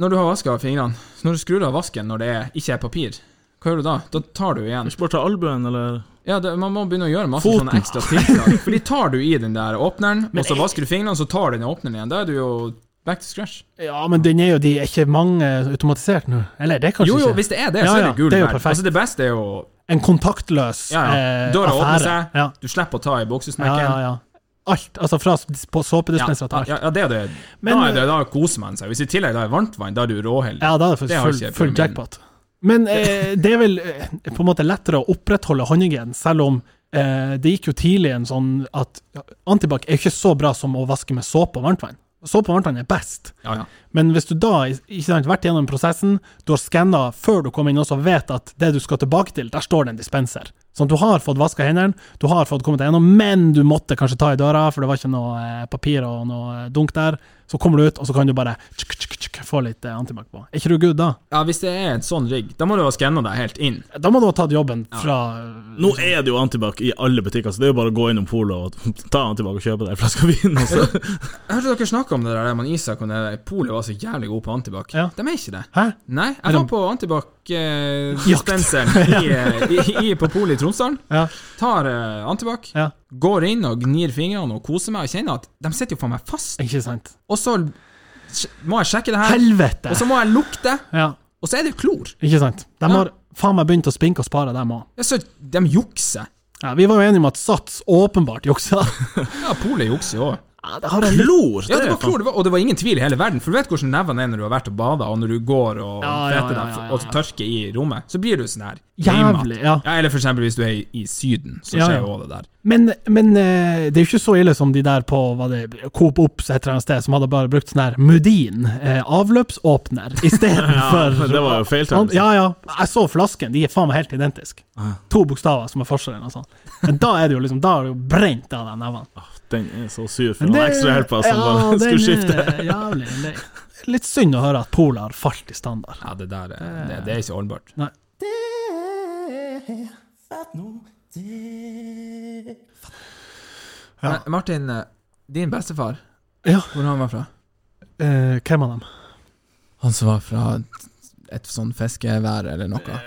D: Når du har vaska fingrene, så når du skrur av vasken når det er, ikke er papir, hva gjør du da? Da tar du igjen.
C: Ikke bare ta albuen, eller
D: Ja, det, Man må begynne å gjøre masse
C: Foten.
D: sånne ekstra tiltak. Fordi tar du i den der åpneren, og så
B: jeg-
D: vasker du fingrene, så tar du den åpneren igjen. Da er du jo back to scratch.
B: Ja, men den er jo de er ikke mange automatisert nå. Eller det er kanskje
D: Jo, jo,
B: ikke.
D: hvis det er det,
B: Ja,
D: så er
B: ja,
D: det gul
B: det er jo
D: verden.
B: perfekt.
D: Altså, det beste er jo
B: En kontaktløs
D: ja, ja.
B: eh,
D: Døra åpner
B: affære.
D: seg,
B: Ja.
D: du slipper å ta i
B: Ja,
D: boksesmekken.
B: ja, ja. Alt. Altså fra s- på såpedispenser til
D: Ja,
B: alt.
D: ja, ja, det er det.
B: Men- eh,
D: da, er det, da koser man seg. Hvis i tillegg da er varmt vann, da er du råheldig.
B: Ja, da er det
D: Det
B: faktisk
D: har ikke
B: full,
D: jeg
B: full
D: prøvd.
B: jackpot. Men eh, det er vel eh, på en måte lettere å opprettholde håndhygienen, selv om eh, det gikk jo tidlig en sånn at antibac er jo ikke så bra som å vaske med såpe og varmtvann. Såpe og varmtvann er best.
D: Ja, ja.
B: Men hvis du da i- ikke sant, vært gjennom prosessen, du har skanna før du kom inn, og så vet at det du skal tilbake til, der står det en dispenser. Sånn, du har fått vaska hendene, du har fått kommet deg gjennom, men du måtte kanskje ta i døra, for det var ikke noe eh, papir og noe eh, dunk der. Så kommer du ut, og så kan du bare tsk, tsk, tsk, få litt eh, antibac på. Er ikke du good da?
D: ja, hvis det er en sånn rigg, da må du ha skanna deg helt inn.
B: Da må du ha tatt jobben fra
C: Nå er det jo Antibac i alle butikker, så det er jo bare å gå innom polet og ta Antibac og kjøpe deg en flaske vin. altså. Og så.
D: Jeg hørte dere snakke om det der, man Isak og det der polet var så jævlig gode på antibac.
B: Ja.
D: De er ikke det.
B: Hæ?
D: Nei, jeg var på
B: Jakt.
D: antibac-dispenseren i, eh, i, i, på polet i Tromsdalen.
B: Ja.
D: Tar eh, antibac,
B: ja.
D: går inn og gnir fingrene og koser meg og kjenner at de sitter jo faen meg fast.
B: Ikke sant?
D: Og så sj- må jeg sjekke det her,
B: Helvete!
D: og så må jeg lukte,
B: Ja,
D: og så er det jo klor.
B: ikke sant? De
D: Ja.
B: har faen meg begynt å spinke og spare, dem òg.
D: Ja, så de jukser.
B: Ja, vi var jo enige om at Sats åpenbart juksa.
D: Ja, polet jukser jo òg.
B: Ja, det har jeg litt
C: Klor!
D: Ja, det var
C: faen-
D: klor, det var, og det var ingen tvil i hele verden, for du vet hvordan nevene er når du har vært og bada, og når du går og
B: Ja, ja,
D: feter
B: ja,
D: deg
B: ja, ja.
D: og tørker i rommet, så blir du sånn her
B: Jævlig,
D: limet.
B: ja.
D: ja. Eller for eksempel hvis du er i, i Syden, så
B: Ja,
D: skjer
B: ja.
D: jo også det der.
B: Men, men eh, det er jo ikke så ille som de der på hva det, Coop Ops et eller annet sted, som hadde bare brukt sånn her Mudin, eh, avløpsåpner,
C: Ja,
B: istedenfor
C: men det var jo feiltagelse.
B: Ja, ja. Jeg så flasken, de er faen meg helt identiske.
C: Ah,
B: To bokstaver som er forskjellen. og sånn. Men da er det jo liksom, da er det jo brent av de nevene.
C: Den er så sur for
B: Men
C: han
B: det-
C: ekstrahjelpa som
B: ja,
C: bare
B: den
C: altså, skulle skifte.
B: er Jævlig. lei. Litt synd å høre at Polet har falt i standard.
D: Ja, det der eh, det, det er ikke holdbart. Men Martin, eh, din bestefar,
B: Ja,
D: hvor han var fra?
B: eh, hvem av dem?
D: Han som var fra et sånn fiskevær eller noe?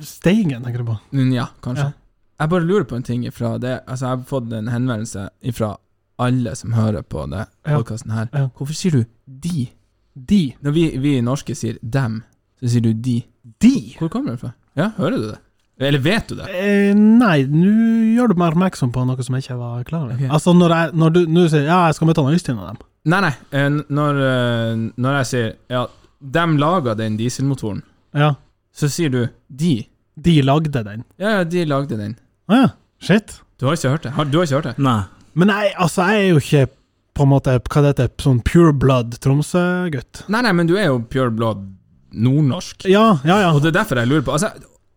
B: Steigen, tenker du på?
D: Mm, ja, kanskje.
B: Ja.
D: Jeg bare lurer på en ting ifra det Altså, jeg har fått en henvendelse ifra alle som hører på det
B: Ja.
D: podkasten her.
B: Ja.
D: Hvorfor sier du 'de'?
B: De.
D: Når vi, vi norske sier 'dem', så sier du 'de'.
B: De?
D: Hvor kommer det fra? Ja, hører du det? Eller vet du det?
B: Eh, nei, nå gjør du meg oppmerksom på noe som jeg ikke var klar over.
D: Ok.
B: Altså, når, jeg, når du nå sier ja, jeg skal møte han Øystein og dem
D: Nei, nei. eh, n- Når, eh, når jeg sier ja, 'dem laga den dieselmotoren',
B: Ja,
D: så sier du 'de'.
B: de lagde den.
D: Ja, ja, de lagde den.
B: Å ja, shit.
D: Du har ikke hørt det? Har, du har ikke hørt det?
C: Nei.
B: Men jeg, altså, jeg er jo ikke på en måte, hva det heter, sånn pure blood Tromsø-gutt.
D: Nei, nei, men du er jo pure blood nordnorsk.
B: Ja, ja, ja.
D: Og det er derfor jeg lurer på altså,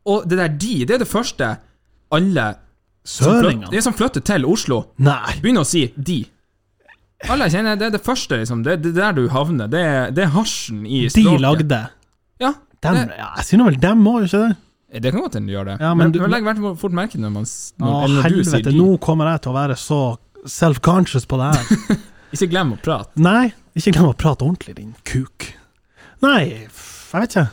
D: Og det der 'de', det er det første alle som flytter,
B: Søringene.
D: de som flytter til Oslo,
B: Nei.
D: begynner å si 'de'. Alle jeg kjenner, det er det første, liksom. Det, det er der du havner. Det er, det er hasjen i
B: De
D: språket.
B: lagde.
D: Ja.
B: Dem,
D: Det-
B: ja, jeg sier nå vel dem òg, ikke det?
D: Det kan godt hende du gjør det.
B: Ja, men
D: men
B: du-
D: du legger hvert fall fort merke til når man s-
B: Å,
D: når, eller når du sier
B: helvete,
D: de.
B: nå kommer jeg til å være så self-conscious på det her.
D: Ikke glem å prate.
B: Nei, ikke glem å prate ordentlig, din kuk. Nei, f- jeg vet ikke.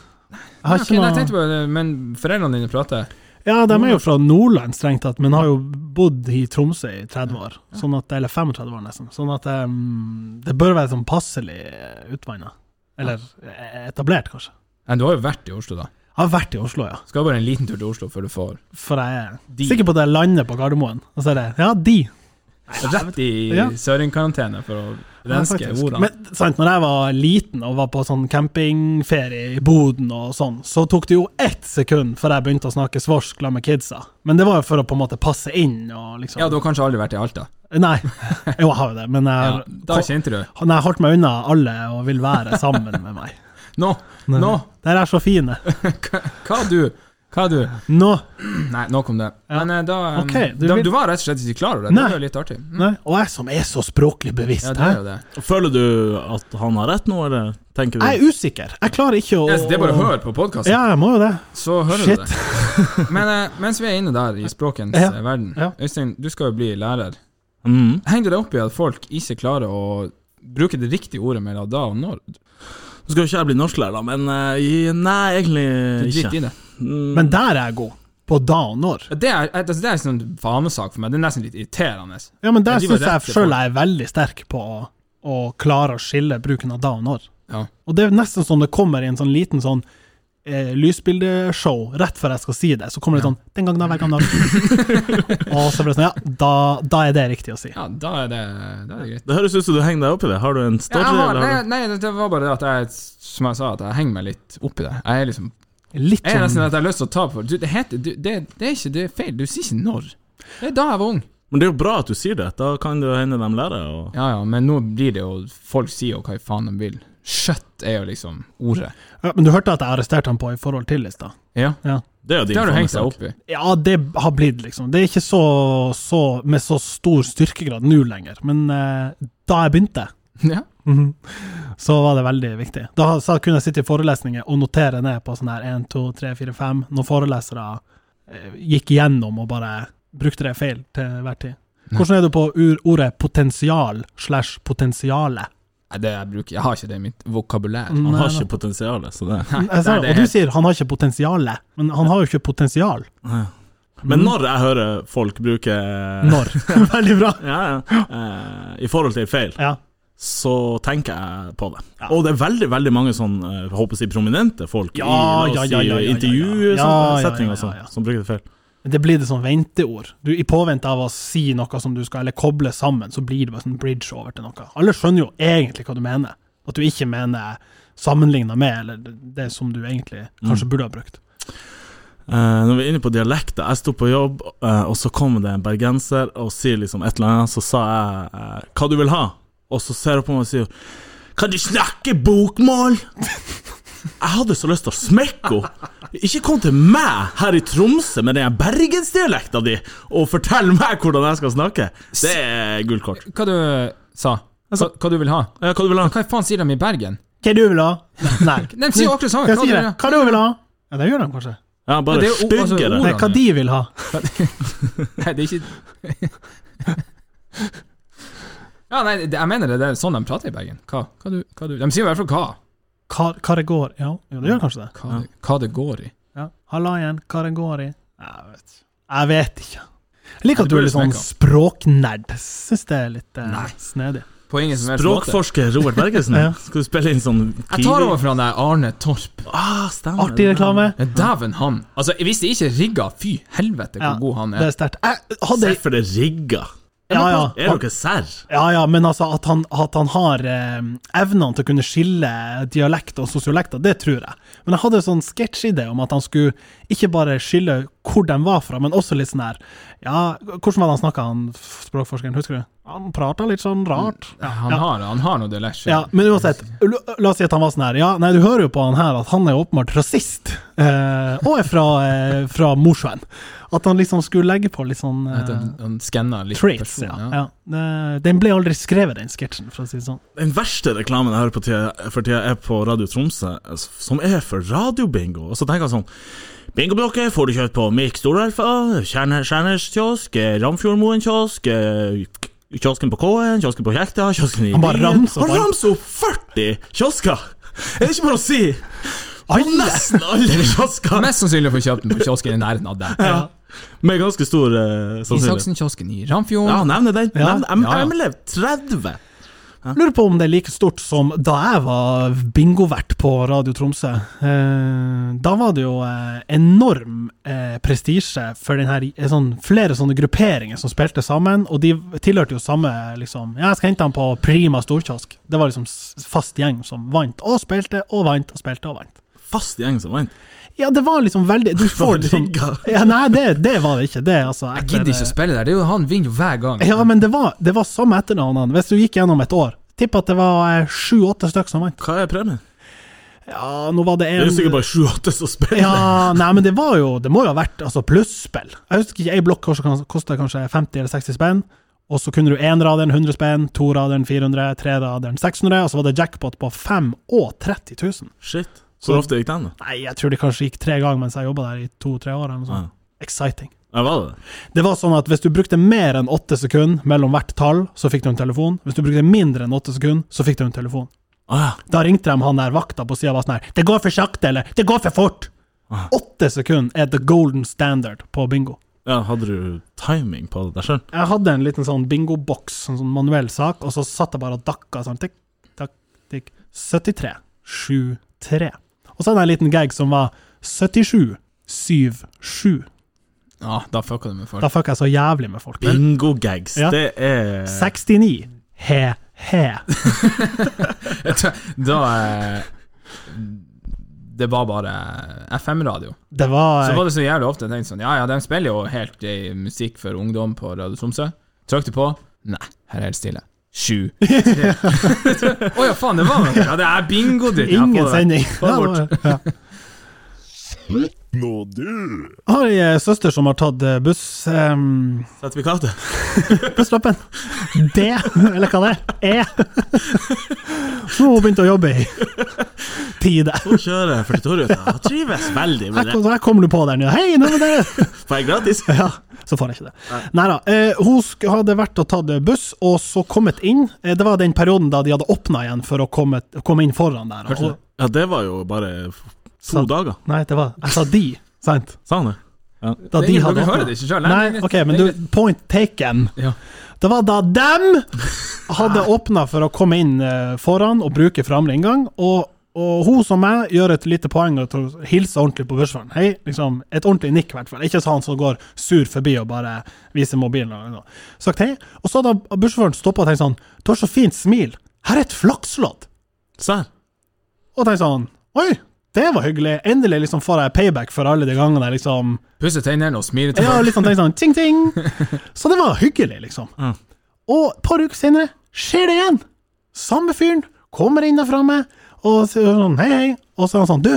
B: Jeg har
D: Nei, ok,
B: ikke
D: nei, jeg
B: noe
D: tenkte på det, men foreldrene dine prater.
B: Ja,
D: Mm.
B: de er jo fra Nordland, strengt tatt, men har jo bodd i Tromsø i 30 år. Sånn at, eller 35 år, nesten. Sånn at em, det bør være sånn passelig utvanna. Eller eh, etablert, kanskje.
D: Nei, du har jo vært i Oslo, da.
B: Jeg har vært i Oslo, ja.
D: Skal bare en liten tur til Oslo før du får
B: For jeg er
D: De.
B: sikker på at jeg lander på Gardermoen. Og så er det Ja, de.
D: rett i
B: Ja.
D: søringkarantene for å
B: Ja,
D: renske
B: faktisk.
D: ordene.
B: Men sant, når jeg var liten og var på sånn campingferie i Boden og sånn, så tok det jo ett sekund før jeg begynte å snakke svorsk la med kidsa. Men det var jo for å på en måte passe inn og liksom
D: ja, du har kanskje aldri vært i Alta?
B: Nei. Jo, jeg har jo det, men jeg
D: Ja,
B: har
D: da kjente du
B: Han har holdt meg unna alle og vil være sammen med meg.
D: Nå! Nå!
B: Der er så fine.
D: Hva hva du? Hva du?
B: Nå.
D: Nei, nok om det. Men eh, da, eh,
B: Ok, du
D: da
B: vil-
D: Du var rett og slett ikke klar over det?
B: Nei.
D: Det var jo litt artig. Mm.
B: Nei. Og jeg som er så språklig bevisst.
D: Ja, det er
B: hæ?
D: jo det.
C: Føler du at han har rett nå, eller tenker du
B: jeg er usikker. Jeg klarer ikke å
D: Det er- det er bare å høre på podkasten,
B: Ja, jeg må jo det.
D: så hører
B: Shit.
D: du det. Men eh, mens vi er inne der i språkens
B: Ja.
D: eh, verden,
B: Ja.
D: Øystein, du skal jo bli lærer.
C: Mm.
D: Henger du deg opp i at folk ikke klarer å bruke det riktige ordet mellom da og når?
C: Nå skal jo ikke jeg bli norsklærer, da, men eh, nei,
D: Du
C: egentlig
D: driter
C: ikke.
D: i det.
C: Mm.
B: Men der er jeg god. På da og når.
D: Det er, altså, det er en sånn fanesak for meg. Det er nesten litt irriterende.
B: Ja, men der
D: Men de var
B: syns jeg
D: rette
B: sjøl jeg er veldig sterk på å, å klare å skille bruken av da og når.
D: Ja.
B: Og det er nesten sånn det kommer i en sånn liten sånn eh, lysbildeshow rett før jeg skal si det. Så kommer det sånn Den gangen da, hver gang da. og så blir det sånn Ja, da, da er det riktig å si.
D: Ja, da er det, da er det greit.
C: Det høres ut som du henger deg opp i det. Har du en
D: Ja,
C: story?
D: jeg har,
C: eller
D: nei,
C: har du...
D: nei, det- det var bare det at jeg, som jeg sa, at jeg henger meg litt opp i det. Jeg er liksom
B: Litt
D: Jeg er nesten
B: sånn
D: at jeg har lyst til å ta på du, det. Heter, du, det, det er ikke det er feil. Du sier ikke når. Det er da jeg var ung.
C: Men det er jo bra at du sier det. Da kan det jo hende de lærer. Og...
D: Ja, ja, men nå blir det jo Folk sier jo hva i faen de vil. Kjøtt er jo liksom ordet.
B: ja, Men du hørte at jeg arresterte han på i forhold til i stad?
D: Ja.
C: Det er jo din
D: Det har du hengt deg
C: fanesak.
D: opp i.
B: Ja, det har blitt, liksom. Det er ikke så, så med så stor styrkegrad nå lenger, men eh, da jeg begynte,
D: Ja.
B: mhm, så var det veldig viktig. Da sa- kunne jeg sitte i forelesninger og notere ned på sånn her 1, 2, 3, 4, 5, når forelesere eh, gikk igjennom og bare brukte det feil til hver tid. Hvordan er du på ur ordet potensial slash potensiale?
D: Nei, Det jeg bruker Jeg har ikke det i mitt vokabulær.
B: Mm.
C: Han
B: Nei,
C: har
B: nei.
C: ikke potensialet, så det
B: Jeg sa,
D: det er
B: og du
D: helt-
B: sier han har ikke potensiale, men han har jo ikke potensial.
C: Men når jeg hører folk bruke eh,
B: Når? Veldig bra.
C: ja, ja, eh, I forhold til feil,
B: Ja.
C: så tenker jeg på det. Og det er veldig veldig mange sånn eh, jeg håper å si prominente folk i
B: Ja,
C: la
B: ja,
C: oss
B: ja,
C: si,
B: ja, ja, ja, ja. Ja, ja,
C: intervjusettinger
B: ja,
C: og sånn,
B: ja, ja.
C: som bruker det feil.
B: Men Det blir det sånn venteord. Du, I påvente av å si noe som du skal, eller koble sammen, så blir det bare sånn bridge over til noe. Alle skjønner jo egentlig hva du mener. At du ikke mener sammenligna med, eller det, det som du egentlig
D: Mm.
B: kanskje burde ha brukt.
C: Eh, når vi er inne på dialekter Jeg sto på jobb, eh, og så kommer det en bergenser og sier liksom et eller annet. Så sa jeg eh, 'hva du vil ha', og så ser hun på meg og sier 'kan du snakke bokmål'? Jeg hadde så lyst til å smekke henne. Ikke kom til meg her i Tromsø med den bergensdialekta di og fortell meg hvordan jeg skal snakke. Det er gullkort.
D: Hva du sa?
B: Altså-
D: Hva, hva du vil ha?
C: Eh, hva du vil ha?
D: Hva i faen sier de i Bergen?
B: Hva du vil ha? Nei.
D: De sier jo akkurat det samme.
B: Hva
D: Hva
B: sier
D: du
B: jeg?
D: vil ha?
B: Hva du vil ha? Ja, det gjør de kanskje.
C: Ja,
D: Men
C: bare
D: det er jo- altså,
C: styggere.
D: ord-
B: Nei, hva de vil ha?
D: Nei, det er ikke Ja, nei, det, jeg mener det, det er sånn de prater i Bergen. Hva, hva, du, hva du De sier i hvert fall hva.
B: Hva, hva det går Ja, jo,
D: Mm.
B: det gjør kanskje det.
D: Hva, det, hva det går i.
B: Ja. Halla igjen, hva det går i? Jeg vet ikke. Jeg vet ikke. Jeg liker at du er litt sånn språknerd. Syns det er litt eh,
D: Nei.
B: snedig.
D: På ingen som helst måte.
C: Språkforsker Robert Bergesen,
B: Ja.
C: skal du spille inn sånn
D: Jeg tar over fra han der Arne Torp.
C: Ah, stemmer.
B: Artig reklame.
D: Ja, Dæven han. Altså, hvis det ikke er rigga, fy helvete hvor
B: Ja,
D: god han
B: Det
D: er.
B: er sterkt. Jeg hadde
C: Se for det rigga.
B: Ja, ja.
C: Er dere serr?
B: Ja, ja, men altså at han, at han har eh, evnene til å kunne skille dialekt og sosiolekter, det tror jeg. Men jeg hadde en sånn sketsjidé om at han skulle ikke bare skille hvor de var fra, men også litt sånn her Ja, hvordan var det han snakka, han f- språkforskeren, husker du? Han prater litt sånn rart.
D: Ja, han,
B: Ja.
D: har, han har noe dialekt.
B: Ja, men uansett, la- la oss si at han var sånn her Ja, nei, du hører jo på han her at han er åpenbart rasist, eh, og er fra, eh, fra Mosjøen. At han liksom skulle legge på litt sånn
D: At
B: eh,
D: han- Han skanner litt
B: traits,
D: person,
B: ja. ja. Eh, Den ble aldri skrevet, den sketsjen, for å si det sånn.
C: Den verste reklamen jeg hører på tida, for tida er på Radio Tromsø, altså, som er for radiobingo. Og så tenker jeg sånn Bingoblokker får du kjøpt på Mirk Storelva, Kjerner- Kjerners kiosk, eh, Ramfjordmoen kiosk, eh, k- kiosken på K-en, kiosken på Kjekta, kiosken i
B: Han bare
C: Byen.
B: ramser opp
C: Han
B: alt.
C: ramser opp 40 kiosker! Er det ikke bare å si? På
B: Alle!
C: nesten alle kiosker!
D: Mest sannsynlig får kjøpt den på kiosken i nærheten av deg.
C: Ja. Med ganske stor uh, sannsynlighet.
D: Isaksen-kiosken i Ramfjord.
C: Ja, nevne den.
B: Ja.
C: Nevne M-
D: Ja, ja.
C: MLF 30.
B: Lurer på om det er like stort som da jeg var bingovert på Radio Tromsø. Eh, da var det jo eh, enorm eh, prestisje for den her, eh, sånn, flere sånne grupperinger som spilte sammen, og de tilhørte jo samme liksom, Ja, jeg skal hente han på Prima storkiosk. Det var liksom s- fast gjeng som vant og spilte og vant og spilte og vant.
C: Fast gjeng som vant.
B: Ja, det var liksom veldig Du får liksom
C: Rigga.
B: ja, Nei, det, det var det ikke. Det, altså,
D: Jeg gidder ikke å spille der, det er jo han vinner jo hver gang.
B: Ja, men det var, det var samme etternavnene. Hvis du gikk gjennom et år, tipp at det var eh, sju-åtte stykker som vant.
C: Hva er premien?
B: Ja, nå var det en
C: Det er jo sikkert bare 7-8 som spiller.
B: Ja, nei, men det var jo Det må jo ha vært altså, plusspill. Jeg husker ikke, ei blokk kosta kanskje 50 eller 60 spenn. Og så kunne du énraderen 100 spenn, toraderen 400, treraderen 600, og så var det jackpot på 5 og 30 000.
C: Shit. Hvor ofte gikk den, da?
B: Nei, jeg tror det kanskje gikk tre ganger mens jeg jobba der i to-tre år. eller noe sånt. Exciting.
C: Ja, var det det?
B: Det var sånn at Hvis du brukte mer enn åtte sekunder mellom hvert tall, så fikk du en telefon. Hvis du brukte mindre enn åtte sekunder, så fikk du en telefon.
C: Ah, ja.
B: Da ringte de han der vakta på sida og var sånn her Det går for sakte, eller? Det går for fort! Åtte sekunder er the golden standard på bingo.
C: ja, hadde du timing på det der sjøl?
B: Jeg hadde en liten sånn bingoboks, en sånn manuell sak, og så satt jeg bare og dakka sånn tikk, takk, tikk 73. 7-3. Og så hadde jeg en liten gag som var 77. 7-7.
D: Ja, da fucka du med folk.
B: Da fuck jeg så jævlig med folk.
C: Bingo-gags,
B: Ja.
C: det er
B: 69. He-he.
D: Da, eh, Det var bare FM-radio.
B: Det var
D: Så var det så jævlig ofte jeg tenkte sånn Ja ja, de spiller jo helt i musikk for ungdom på Radio Tromsø. Trykte på. Nei, her er det helt stille. Sju. Tre. Å ja, faen, det var noe. Ja, det er bingo, ditt. Ja,
B: eh, Ingen
D: få det.
B: sending.
D: Få det bort.
B: Ja, ja.
A: Nå du!
B: Jeg har ei eh, søster som har tatt eh, buss... ehm,
C: sertifikatet.
B: busslappen. D, eller hva det er. E. Så hun begynte å jobbe i tide.
C: Hun kjører 42-ruta og trives veldig
B: Her,
C: med det.
B: kom- her kommer du på der nå. Hei, nå er det
C: Får jeg gratis?
B: Ja, så får jeg ikke det. Nei da. Eh, hun sk- hadde vært og tatt eh, buss, og så kommet inn. Eh, det var den perioden da de hadde åpna igjen for å komme, komme inn foran der. Og,
D: Hørte du det?
C: Ja, det var jo bare f- to
B: Sant.
C: dager.
B: nei, det var Jeg sa de, sant?
C: Sa han det?
B: Da
D: Det er
B: de
D: ingen-
B: hadde
D: Dere hører
B: åpna.
D: det ikke sjøl?
B: Nei, ok, men du, point taken.
D: Ja.
B: Det var da dem hadde åpna for å komme inn eh, foran og bruke framre inngang, og, og hun som meg gjør et lite poeng av å hilse ordentlig på bussjåføren. Hei, liksom, et ordentlig nikk, i hvert fall. Ikke sånn som går sur forbi og bare viser mobilen. Og, og sagt hei. Og så hadde bussjåføren stoppa og tenkt sånn Du har så fint smil. Her er et flakslodd.
C: Serr?
B: Og tenkt sånn Oi, det var hyggelig. Endelig liksom får jeg payback for alle de gangene jeg liksom
D: Pusse tennene og smile til
B: ja,
D: folk.
B: litt sånn, tenk sånn ting, ting. Så det var hyggelig, liksom.
C: Ja.
B: Og et par uker senere skjer det igjen. Samme fyren kommer inn der framme og sier sånn hei, hei. Og så er han sånn du,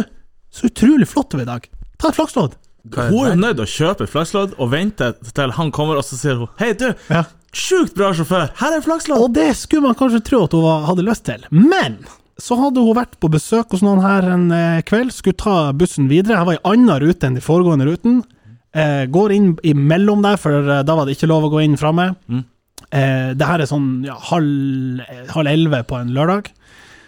B: så utrolig flott du er i dag. Ta et flakslodd.
C: Hun er jo nødt til å kjøpe flakslodd og vente til han kommer, og så sier hun Hei, du!
B: Ja.
C: Sjukt bra sjåfør! Her er flakslodd!
B: Og det skulle man kanskje tro at hun var- hadde lyst til, men så hadde hun vært på besøk hos noen her en eh, kveld, skulle ta bussen videre. Her var ei anna rute enn de foregående ruten. Eh, går inn imellom der, for eh, da var det ikke lov å gå inn framme. Eh, det her er sånn ja, halv, eh, halv elleve på en lørdag.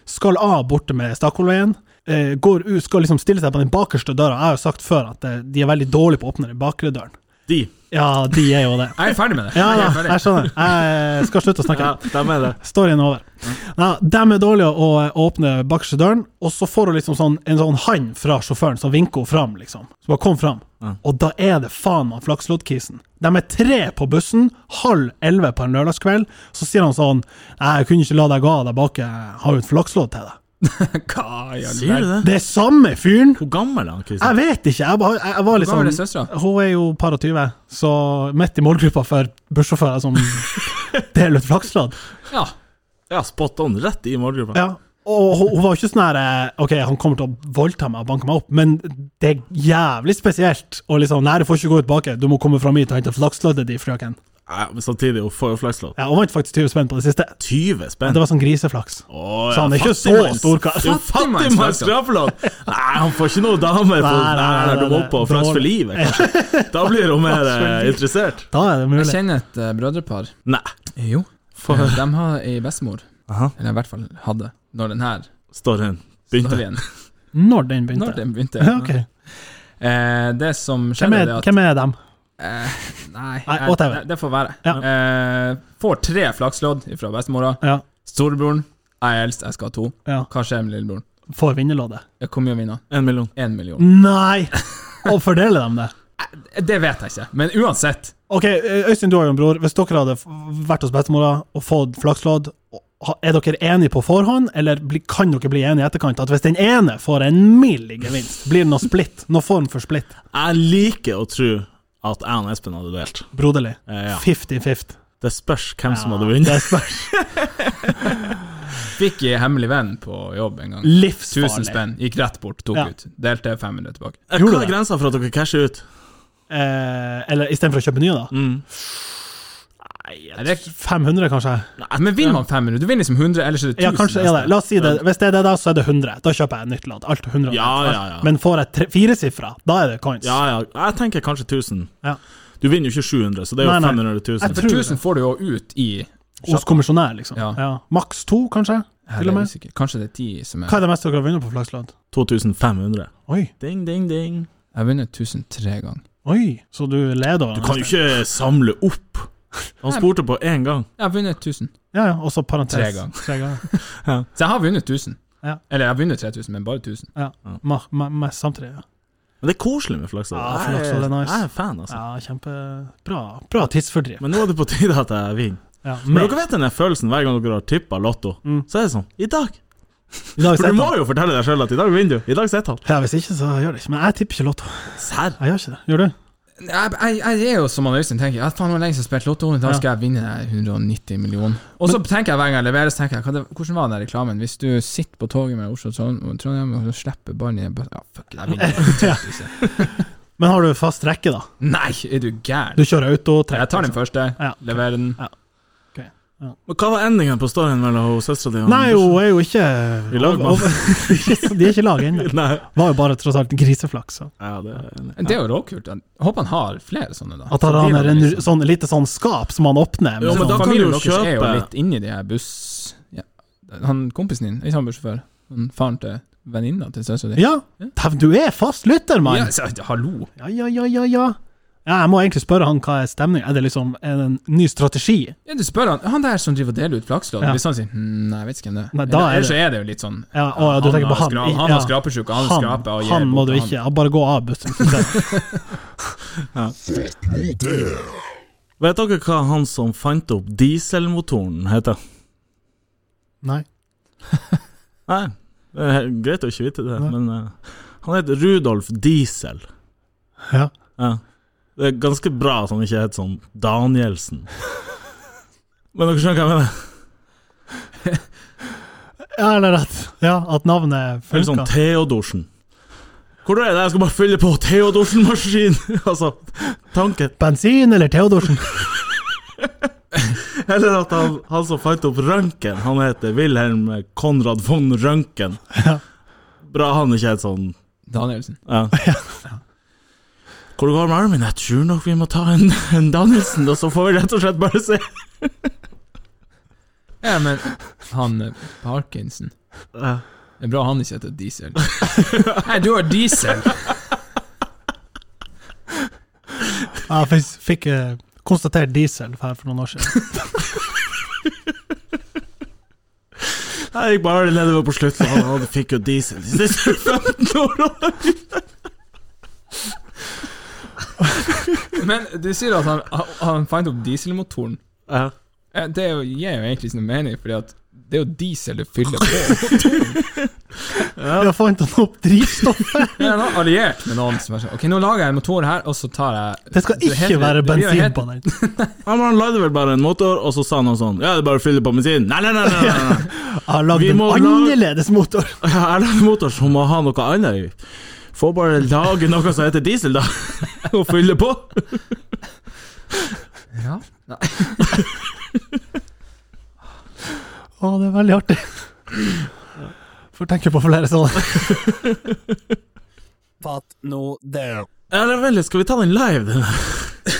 B: Skal av borte med Stakkolveien. Eh, går ut, skal liksom stille seg på den bakerste døra. Jeg har jo sagt før at eh, de er veldig dårlige på å åpne den bakre døren.
C: De.
B: Ja, de er jo det.
D: Jeg er ferdig med det.
B: Ja,
D: Jeg
B: da,
D: er ferdig.
B: jeg skjønner. Jeg skal slutte å snakke.
C: Ja, dem er det.
B: Storyen er over. Nei, dem er dårlige å å åpne bakerste døren, og så får hun liksom sånn, en sånn hand fra sjåføren som vinker henne fram, liksom. Så bare kom fram. Og da er det faen meg flaksloddkisen. De er tre på bussen, halv elleve på en lørdagskveld. Så sier han sånn Nei, jeg kunne ikke la deg gå av der bak, jeg har jo et flakslodd til deg.
D: Hva i all
C: Sier du
D: verden?
C: det?
B: Det er samme fyren!
C: Hvor gammel er han, Kristian?
B: Jeg vet ikke. Jeg, bare, jeg, jeg var liksom
D: gammel er søstera?
B: Hun er jo par og 20, så midt i målgruppa for bussjåfører som deler ut flakslodd.
D: Ja.
C: Ja, spot on. Rett i målgruppa.
B: Ja. Og hun, hun var jo ikke sånn her eh, OK, han kommer til å voldta meg og banke meg opp, men det er jævlig spesielt. Og liksom, nei, du får ikke gå ut bak, du må komme fram hit og hente flaksloddet ditt, frøken.
C: Nei, men samtidig, hun får jo flakslåt.
B: Ja, hun vant faktisk 20 spenn på det siste.
C: 20 spenn.
B: Det var sånn griseflaks.
C: Å, ja,
B: Så han er ikke så
C: fattigmanns-
B: stor kar.
C: Du, Fattigmanns skraplåt! Nei, han får ikke noe dame på
B: Nei, nei,
C: Nei,
B: nei,
C: du
B: nei,
C: må opp på
B: nei.
C: Flaks for livet, kanskje. Da blir hun mer
B: Flaks for
C: eh,
B: livet.
C: interessert.
B: Da er det
D: Jeg
B: mulig.
D: kjenner et eh, brødrepar.
C: Nei.
D: Jo.
C: For
D: De har ei bestemor.
C: Aha.
D: Eller i hvert fall hadde, når den her
C: storyen
D: når
C: begynte.
D: den-
B: Når den
D: Når
B: begynte.
D: den begynte.
B: Ja, ok.
D: Eh, det som
B: Hvem
D: skjedde,
B: er,
D: det at
B: hvem er dem?
D: eh, Nei,
B: Nei,
D: jeg-
B: whatever.
D: det får være.
B: Ja.
D: Eh, får tre flakslodd fra bestemora.
B: Ja,
D: Storebroren. Jeg er eldst, jeg skal ha to.
B: ja.
D: Hva skjer med lillebroren?
B: Får vinnerloddet.
D: Jeg kommer jo å vinne.
C: En million.
D: Én million.
B: Mm. Nei! Og fordeler dem det?
D: Det vet jeg ikke, men uansett.
B: Ok, Øystein, du har jo en bror. Hvis dere hadde vært hos bestemora og fått flakslodd, ha- er dere enige på forhånd, eller bli- kan dere bli enige i etterkant? At hvis den ene får en mild gevinst, blir det noe splitt? Noe form for splitt?
C: Jeg liker å tro at jeg og Espen hadde duelt.
B: Broderlig.
C: Eh, ja.
B: 50-50.
C: Det spørs hvem som hadde
B: Ja,
C: vunnet.
B: det spørs.
D: Fikk ei hemmelig venn på jobb en gang.
B: Livsfarlig.
D: 1000 spenn. Gikk rett bort, tok
B: Ja.
D: ut. Delte 500 tilbake.
C: Eh,
B: Gjorde
C: Hva
B: det?
C: er grensa for at dere casher ut?
B: Eh, eller istedenfor å kjøpe nye, da?
C: Mm.
D: Er det,
B: 500, kanskje?
D: men vinner man 500? Du vinner liksom 100, ellers er det 1000.
B: Ja, kanskje er det. La oss si det. Hvis det er det, da, så er det 100. Da kjøper jeg et nytt lodd. Alt er 100.
C: Ja, ja, ja.
B: Men får jeg tre- firesifra, da er det coins.
C: Ja, ja. Jeg tenker kanskje 1000.
B: Ja.
C: Du vinner jo ikke 700, så det er jo
B: Nei, nei.
C: 500 000.
D: For
B: tror det.
D: 1000 får du jo ut i
B: Hos kommisjonær, liksom. Ja.
D: Ja.
B: Maks to, kanskje?
D: Ja,
B: Til
D: det
B: og
D: er
B: med.
D: usikker. Kanskje det er 10 som er
B: Hva er det meste dere har vunnet på flakslodd?
C: 2500.
B: Oi,
C: Ding, ding, ding.
D: Jeg har vunnet 1000 tre ganger.
B: oi, så du leder over
C: Du kan jo ikke samle opp. Han spurte på én gang.
D: Jeg har vunnet 1000
B: Ja, ja, og så parentes.
D: Tre ganger.
B: Tre ganger.
D: Så jeg har vunnet 1000.
B: Ja.
D: Eller jeg har vunnet 3000, men bare 1000.
B: Ja.
C: Ja.
B: Ma, ma, ma, samtidig, ja.
C: Men det er koselig med flakslåd.
B: Ja,
C: Jeg
B: flakslodd er nice.
C: Jeg er fan, altså.
B: ja kjempebra. Bra tidsfordriv.
C: Men nå er det på tide at jeg vinner.
B: Ja,
C: Men
B: men-
C: dere vet den der følelsen hver gang dere har tippa Lotto?
B: Mm.
C: Så er det sånn I dag!
B: I dag
C: For
B: sitter
C: du må
B: han.
C: jo fortelle deg sjøl at i dag vinner du. I dag sitter han.
B: ja, Hvis ikke, så gjør det ikke. Men jeg tipper ikke Lotto.
C: Serr.
B: Jeg gjør ikke det. Gjør du?
D: Jeg, jeg, jeg er jo som han Øystein tenker. Ja, faen, det var lenge siden jeg har spilt Lotto. I dag skal jeg vinne de 190 millioner. Og så tenker jeg hver gang jeg leverer, så tenker jeg hva det, hvordan var den der reklamen? Hvis du sitter på toget mellom Oslo og Trond- og Trondheim og så slipper ballen i en bøtte Ja, fuck, jeg vinner.
B: Men har du fast rekke, da?
D: Nei, er du
B: Du
D: gæren?
B: kjører auto? tre-
D: Jeg tar den første,
B: Ja.
D: leverer den.
C: Men hva var endingen på storyen mellom søstera di
B: liksom.
C: og
B: Nei, hun er jo ikke
C: I lag, mann.
B: De er ikke i lag ennå.
C: Nei.
B: Var jo bare tross alt griseflaks. Så.
C: Ja, det er enig.
D: Det er jo råkult. Jeg håper han har flere sånne, da.
B: At han
D: Så blir
B: har
D: det
B: en
D: liksom-
B: sånn, lite sånn skap som han åpner. med
C: Jo, men
B: sånn,
C: da kan du
D: Familien
C: jo
D: deres er jo
C: kjøpe-
D: litt inni de her buss... Ja. Han kompisen din er samboersjåfør. Han Faren til venninna til søstera di.
B: Ja, Dæven, du er fast lytter, mann!
D: hallo!
B: Ja, ja, ja, ja, ja. ja. Jeg må egentlig spørre han hva er stemning Er det liksom en ny strategi?
D: Ja, du spør han Han der som driver og deler ut flakslodd,
B: Ja.
D: hvis han sier hm, Nei, jeg vet ikke hvem det
B: Nei,
D: er.
B: da er
D: Eller
B: det-
D: så er det jo litt sånn
B: Ja, å, ja du tenker på
D: har
B: han.
D: skra- han
B: ja.
D: har skrapesjuke, han,
B: Han,
D: skraper og gir
B: han må
D: bort
B: du
D: til
B: ikke. Ja, bare gå av bussen.
C: Vet dere hva han som fant opp dieselmotoren, heter?
B: Nei.
C: Nei, det er greit å ikke vite det, men eh, han heter Rudolf Diesel.
B: Ja.
C: Ja. Det er ganske bra at han ikke heter sånn Danielsen. Men dere skjønner hva jeg mener?
B: ja, eller rett. Ja, at navnet
C: Eller sånn
B: funka.
C: Theodorsen. Hvor er det? Jeg skal bare fylle på Theodorsen-maskin! altså, tanken.
B: Bensin eller Theodorsen?
C: Eller at han, han som fant opp røntgen, han heter Wilhelm Konrad von Røntgen.
B: Ja.
C: Bra han ikke heter sånn
D: han. Danielsen.
C: Ja. Hvor det går med armen? Jeg tror nok vi må ta en, en Danielsen, og så får vi rett og slett bare se.
D: Ja, men han eh, Parkinson
C: Ja.
D: Det er bra han ikke heter Diesel. Nei, du har Diesel!
B: Ja, jeg fikk, fikk eh, konstatert diesel her for noen år siden.
C: Jeg gikk bare nedover på slutten, og han- han fikk jo diesel de siste 15 årene.
D: Men du sier at han, han- han fant opp dieselmotoren.
C: Ja.
D: Eh, Det er jo- gir jo egentlig ikke noe mening, fordi at Det er jo diesel du fyller på.
B: Da fant han opp drivstoffet!
D: Jeg er nå alliert med noen som er sånn Ok, nå lager jeg en motor her, og så tar jeg
B: Det skal
D: så
B: ikke
D: heter-
B: være
D: det blir jo
B: bensin
D: helt-
B: på den.
C: Ja, men han lagde vel bare en motor, og så sa han noe sånn Ja, det er bare å fylle på bensin. Nei, nei, nei! nei, nei, nei.
B: Jeg har lagd
C: Vi
B: en
C: må lage-
B: annerledes motor!
C: Ja, Jeg lagde en motor som må ha noe annet i. Får bare lage noe som heter diesel, da, og fylle på.
D: Ja.
B: Å, det er veldig artig. Får tenke på flere sånne.
A: Fatt nå det.
C: Ja, det er veldig, Skal vi ta den live, den der,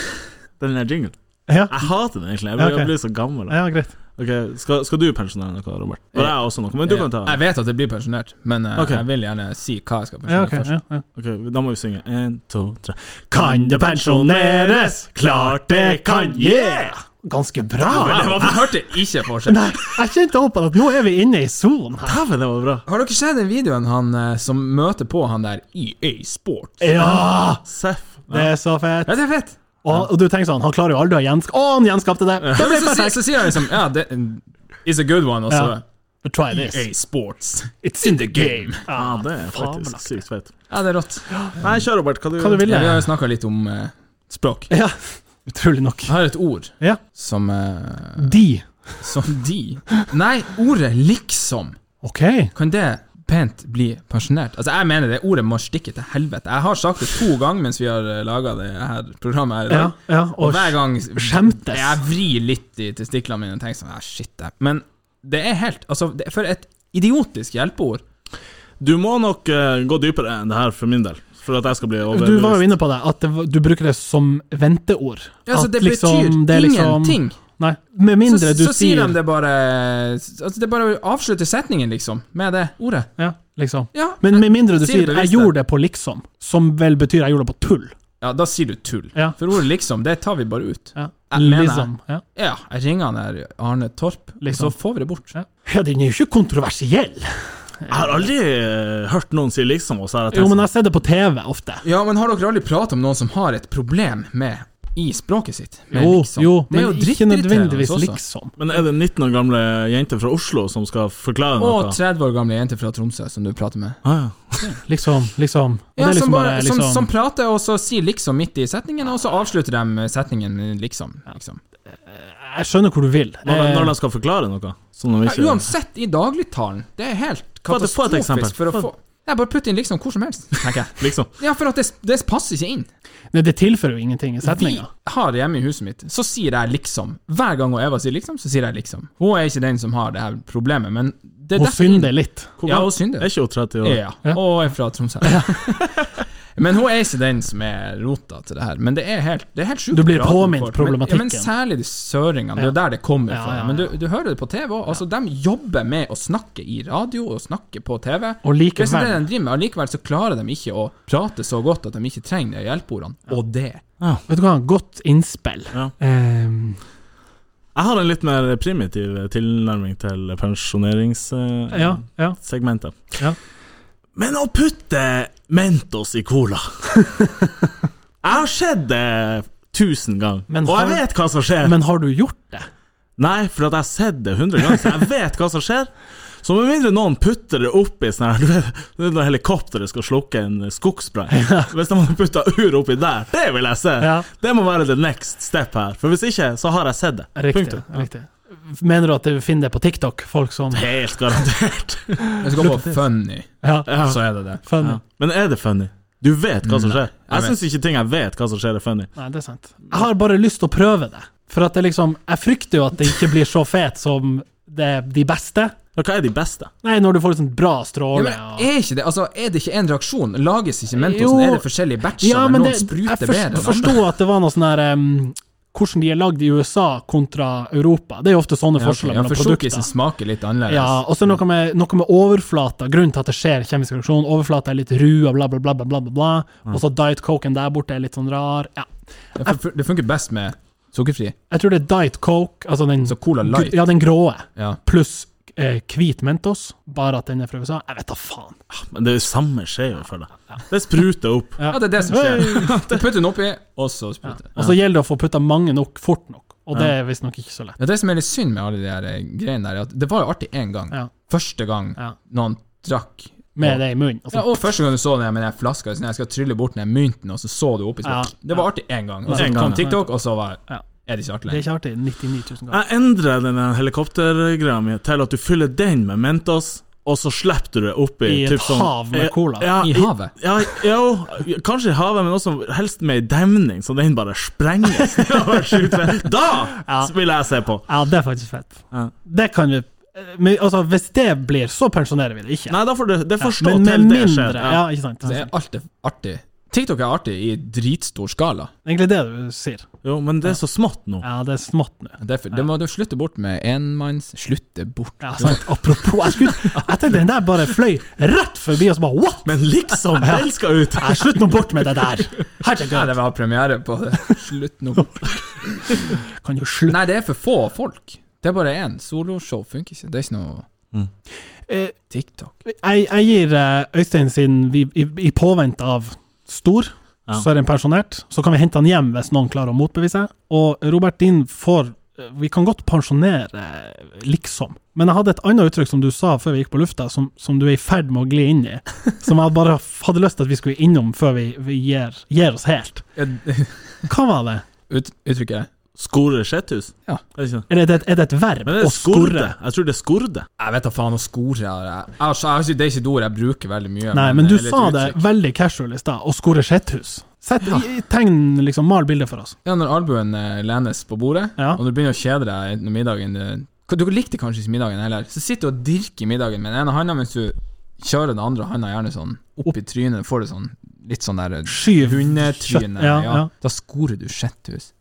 C: den der jinglen?
B: Ja,
C: Jeg hater den egentlig. Jeg blir,
B: Ja, ok.
C: jeg blir så gammel.
B: ja greit.
C: Ok, Skal, skal du pensjonere noe, Robert? Og jeg også noe, men du kan ta
D: Jeg
C: den.
D: vet at det blir pensjonert, men eh,
C: Ok.
D: jeg vil gjerne si hva jeg skal pensjonere
B: Ja, ok,
D: først.
B: ja, ja.
C: Ok, Da må vi synge. En, to, tre.
B: Kan det pensjoneres? Klart det kan, yeah! Ganske bra.
D: Men jeg hørte ikke forskjell.
B: Nei, jeg kjente opp at nå er vi inne i sonen her.
C: Dæven, det var bra.
D: Har dere sett den videoen han eh, som møter på han der EA Sports?
B: Ja!
C: Seff.
B: Det er så fett.
D: Ja, det er fett!
B: Og, og du tenker sånn, han klarer jo aldri å gjenskape Å, han gjenskapte det! Det ble
D: Så, så, så sier han liksom Ja, det is a good one, og så
B: Ja. But Try this.
D: EA Sports.
B: It's in the game.
C: Ja, det er
B: fabelaktig.
C: faktisk sykt fett.
D: Ja, det er rått.
C: Nei, kjør, Robert. Hva du,
B: Hva du vil.
D: Ja, vi har jo snakka litt om eh, språk.
B: Ja, utrolig nok.
D: Jeg har et ord
B: Ja.
D: som eh,
B: De.
D: Som de Nei, ordet 'liksom'
B: Ok.
D: Kan det pent bli pensjonert? Altså Jeg mener det ordet må stikke til helvete. Jeg har sagt det to ganger mens vi har laga det her programmet her i dag.
B: Ja, ja.
D: Og
B: Og
D: hver gang
B: skjemtes.
D: Jeg vrir litt i testiklene mine og tenker sånn ah, Shit, det Men det er helt Altså, det, for et idiotisk hjelpeord.
C: du må nok eh, gå dypere enn det her for min del, for at jeg skal bli
B: du
C: overbevist.
B: var jo inne på det, at det, var- du bruker det som venteord.
D: Altså,
B: At
D: det
B: liksom,
D: betyr
B: det er liksom-
D: ingenting.
B: Nei, med
D: Så,
B: mindre du
D: så sier
B: sier
D: de det bare Altså, det bare avslutter setningen, liksom, med det ordet.
B: Ja, liksom.
D: Ja,
B: Men med mindre du
D: Sier
B: sier
D: det
B: 'jeg
D: bevisst
B: gjorde det på liksom', som vel betyr 'jeg gjorde det på tull'.
D: ja da sier du tull.
B: Ja.
D: For ordet 'liksom', det tar vi bare ut.
B: Ja.
D: Jeg mener-
B: Liksom. Ja.
D: Ja, jeg ringer han der Arne Torp,
B: Liksom.
D: og så får vi det bort.
B: ja, den er jo ikke kontroversiell.
C: Jeg har aldri eh, hørt noen si liksom oss her.
B: Jo, men jeg har sett det på TV ofte.
D: Ja, men har dere aldri pratet om noen som har et problem med i språket sitt? Med
B: Jo,
D: liksom?
B: jo,
D: Det er
B: men ikke
D: drittirriterende
B: nødvendigvis
D: også.
B: liksom.
C: men er det 19 år gamle jenter fra Oslo som skal forklare
D: Og
C: noe?
D: 30 år gamle jenter fra Tromsø som du prater med.
C: Ah, ja.
B: Liksom, liksom. Og det
D: Ja,
B: er
D: som,
B: liksom
D: bare,
B: bare
D: som, som
B: liksom
D: prater, og så sier 'liksom' midt i setningen, og så avslutter de setningen med 'liksom'. liksom.
B: Jeg skjønner hvor du vil.
C: Når,
B: Eh,
C: når de skal forklare noe? Som de
D: Ja,
C: ikke
D: uansett, i dagligtalen, det er helt
C: Få et- få et eksempel.
D: katastrofisk for å
C: Få-
D: få Nei, bare putt inn 'liksom' hvor som helst, tenker jeg.
C: Liksom.
D: Ja, for at det, det passer ikke inn.
B: Nei, Eh, det tilfører jo ingenting i
D: Vi
B: setninga.
D: har hjemme i huset mitt, så sier jeg liksom. Hver gang hun Eva sier liksom, så sier jeg liksom. Hun er ikke den som har det her problemet, men det er
B: Hun
D: derfor-
B: synder litt.
C: Hvor
D: Ja,
C: gammel-
D: hun synder.
C: Er ikke hun 30 år?
D: Ja,
B: Ja.
D: og er fra Tromsø. men hun er ikke den som er rota til det her. Men det er helt, det er helt sjukt.
B: Du blir
D: bra at hun
B: påminnet
D: får-
B: problematikken.
D: Men, ja, men særlig de søringene. Det er jo der det kommer
B: Ja,
D: fra.
B: ja,
D: Men
B: ja.
D: du, du hører det på TV òg. Altså, de jobber med å snakke i radio og snakke på TV.
B: Og likevel-
D: Det er det de driver med. Allikevel så klarer de ikke å prate så godt at de ikke trenger de hjelpeordene. Og det.
B: Vet du hva, godt innspill.
C: Ja.
B: Ehm,
C: Jeg har en litt mer primitiv eh, tilnærming til eh, pensjoneringssegmentet.
B: ja, ja. Ja.
C: Men å putte Mentos i cola Jeg har sett det tusen ganger,
B: Men
C: og jeg
B: har-
C: vet hva som skjer.
B: Men har du gjort det?
C: Nei, for at jeg har sett det hundre ganger, så jeg vet hva som skjer. Så med mindre noen putter det oppi sånn her du vet, du vet Når helikopteret skal slukke en skogsbrann Hvis de hadde putta ur oppi der, det vil jeg se!
B: Ja.
C: Det må være the next step her. For hvis ikke, så har jeg sett det.
B: Riktig.
C: Punktum.
B: riktig. Mener du at du finner det på TikTok? Folk som
C: Helt garantert.
D: Hvis du går på funny,
B: Ja,
C: Ja.
D: så er det det.
B: funny.
C: Men er det funny? Du vet hva som
D: Nei,
C: skjer.
D: jeg
C: Jeg syns ikke ting jeg vet hva som skjer, er funny.
B: Nei, det er sant. Jeg har bare lyst til å prøve det. For at det liksom Jeg frykter jo at det ikke blir så fet som det, de beste.
C: Og hva er de beste?
B: Nei, når du får sånn bra
D: Ja,
B: stråle
D: men
B: og
D: er ikke det altså, Er det ikke én reaksjon? Lages ikke
B: Jo.
D: Mentosen? Er det forskjellige batcher?
B: Ja,
D: der
B: men
D: sånn noen
B: det, jeg
D: spruter bedre
B: forst-
D: enn
B: forsto at det var noe sånn her em, Hvordan de er lagd i USA kontra Europa. Det er jo ofte sånne
D: Ja, ok.
B: forskjeller
D: Ja,
B: mellom
D: for
B: produkter.
D: sjokkisen smaker litt annerledes.
B: Ja, og så noe med, noe med overflata. Grunnen til at det skjer kjemisk reaksjon. Overflata er litt rua, bla, bla, bla, bla, bla, bla, bla. Og så Diet Coken der borte er litt sånn rar. Ja.
D: Ja, for- for- Det funker best med sukkerfri.
B: Jeg tror det er Diet Coke, altså den,
D: Så Cola Light.
B: gr- ja, den gråe,
D: Ja.
B: pluss eh, hvit Mentos, bare at den er fra USA. Jeg vet da faen.
C: Men det er jo samme skjer jo for deg. Det spruter opp.
D: ja, det er det som skjer. Du putter den oppi, og så spruter det.
B: Og så gjelder det å få putta mange nok fort nok. og det er visstnok ikke så lett.
D: Ja, det som er litt synd med alle de her eh, greiene der, er at det var jo artig én gang.
B: Ja.
D: Første gang
B: Ja.
D: noen drakk.
B: Med det i munnen. Altså,
D: Ja, og første gang du så den med den flaska, sånn, jeg skal trylle bort den mynten, og så så du opp i
B: Ja.
D: spillet. Det var artig én gang. Og så
C: En gang,
D: kom
C: ja.
D: TikTok, og så var
B: Ja.
D: er det ikke artig
B: det er
D: lenger.
B: ikke artig 99 000 ganger.
C: Jeg endrer den helikoptergreia mi til at du fyller den med Mentos, og så slipper du det oppi
B: I et
C: typ sånn-
B: hav med
C: Ja,
B: cola.
C: Ja,
D: I havet?
C: Ja, jo, kanskje i havet, men også helst med ei demning, så den bare sprenges. nedover skytet. da
B: Ja.
C: vil jeg se på!
B: Ja, det er faktisk fett.
C: Ja.
B: Det kan vi men, altså, Hvis det blir, så pensjonerer vi det ikke.
C: Nei, da får det, det får stå
B: men
C: til
B: med
C: det
B: mindre
C: skjer.
B: ja. ikke sant.
D: Det er alt er artig. TikTok er artig i dritstor skala.
B: Egentlig det du sier.
C: Jo, men det er så smått nå.
B: Ja, det er smått nå.
D: Derfor, Det må du slutte bort med enmanns Slutte bort.
B: Ja, sant. Apropos, jeg, skulle, jeg tenkte den der bare fløy rett forbi og så bare what?!
C: Men liksom, den skal ut!
B: Nei, slutt nå bort med det der!
D: Nei,
B: Herregud,
D: det var premiere på det. Slutt nå.
B: kan jo slutte.
D: Nei, det er for få folk. Det er bare én. Soloshow funker ikke. Det er ikke noe
B: Eh,
D: TikTok.
B: Jeg, jeg gir eh, Øystein sin vi, i, I påvente av stor,
C: Ja.
B: så er den pensjonert. Så kan vi hente han hjem hvis noen klarer å motbevise. Og Robert, din får eh, Vi kan godt pensjonere, eh, liksom. Men jeg hadde et annet uttrykk som du sa før vi gikk på lufta, som, som du er i ferd med å gli inn i. Som jeg bare hadde lyst til at vi skulle innom før vi, vi gir, gir oss helt. Hva var det?
D: Ut, uttrykket
C: Skore skjetthus?
D: Ja.
C: Er det ikke det?
B: Er det, et- er det et verb?
C: Men det
B: Å
C: er skorde.
B: skorre?
C: Jeg tror det er skorde.
D: Jeg vet da faen å skore jeg, jeg, har- jeg, har ikke- Det er ikke et ord jeg bruker veldig mye.
B: Nei, men du
D: det er litt
B: sa det
D: uttrykk.
B: veldig casual i stad. Å skorre skjetthus. Sett, i- Tegn, liksom, mal bildet for oss.
D: Ja, Når albuen eh, lenes på bordet,
B: Ja.
D: og du begynner å kjede deg enten middagen eh, Du likte kanskje ikke middagen heller. Så sitter du og dirker middagen med den ene handa mens du kjører den andre handa gjerne sånn opp i trynet. Får du sånn litt sånn der eh,
B: Skyv Skjøtt-
D: hundetryne.
B: ja, ja.
D: Da skorer du skjetthus.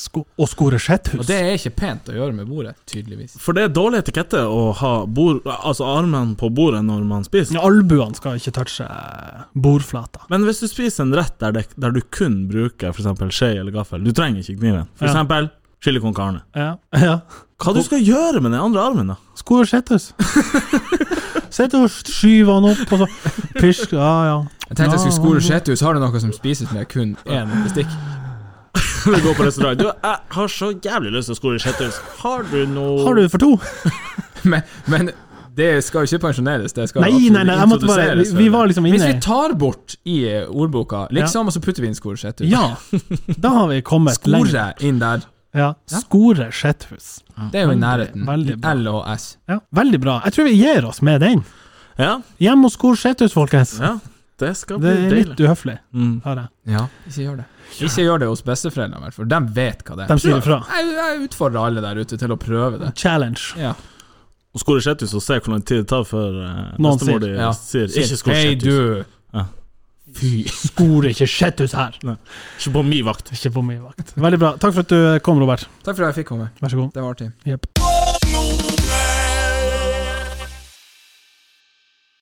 B: sko og skore skjetthus.
D: Og det er ikke pent å gjøre med bordet, tydeligvis.
C: For det er dårlig etikette å ha bord, altså armene på bordet når man spiser.
B: Albuene skal ikke touche eh, bordflata.
C: Men hvis du spiser en rett der, det, der du kun bruker for eksempel skje eller gaffel, du trenger ikke kniven. For
B: Ja.
C: eksempel chili con carne.
B: Ja. ja.
C: Hva du skal gjøre med den andre armen, da?
B: Skore skjetthus. Sett og skyve han opp, og så pysj Ja, ja.
D: Jeg tenkte jeg skulle
B: Ja,
D: skore
B: han-
D: skjetthus. Har du noe som spises med kun én bestikk?
C: Når du går på restaurant. Du, jeg har så jævlig lyst til å skore i kjetthus. Har du noe
B: Har du for to?
D: Men, men det skal jo ikke pensjoneres. Det skal
B: Nei,
D: absolutt
B: nei, nei, jeg måtte bare Vi,
D: introduseres.
B: vi var liksom
D: Hvis
B: inne
D: vi tar bort i eh, ordboka, liksom, og så putter vi inn skore skjetthus
B: Ja. Da har vi kommet lenger.
D: Skore inn der.
B: Ja. Skore skjetthus.
D: Det er jo i nærheten.
B: veldig bra.
D: L og S.
B: Ja. Veldig bra. Jeg tror vi gir oss med den.
C: Ja,
B: Hjem og skore skjetthus, folkens.
C: ja. Det skal
B: Det
C: bli
B: er litt
C: deilig.
B: uhøflig,
C: Mm.
B: hører jeg.
D: Ja, ikke gjør det. Ikke gjør det hos besteforeldrene, i hvert fall. De vet hva det
B: De
D: er.
B: sier ifra.
D: Jeg, jeg utfordrer alle der ute til å prøve det.
B: Challenge.
D: Ja.
C: Og skore i kjetthus og se hvor lang tid det tar før eh,
B: Noen
C: bestemor
B: sier,
C: di
D: ja.
C: sier ikke skore i
D: Hei,
C: kjetthus.
D: du!
C: Ja.
D: Fy.
B: Skore ikke skjetthus her.
C: Ikke på min vakt.
B: Ikke på min vakt. Veldig bra. Takk for at du kom, Robert.
D: Takk for at jeg fikk komme.
B: Vær så god.
D: Det var artig.
B: Jepp.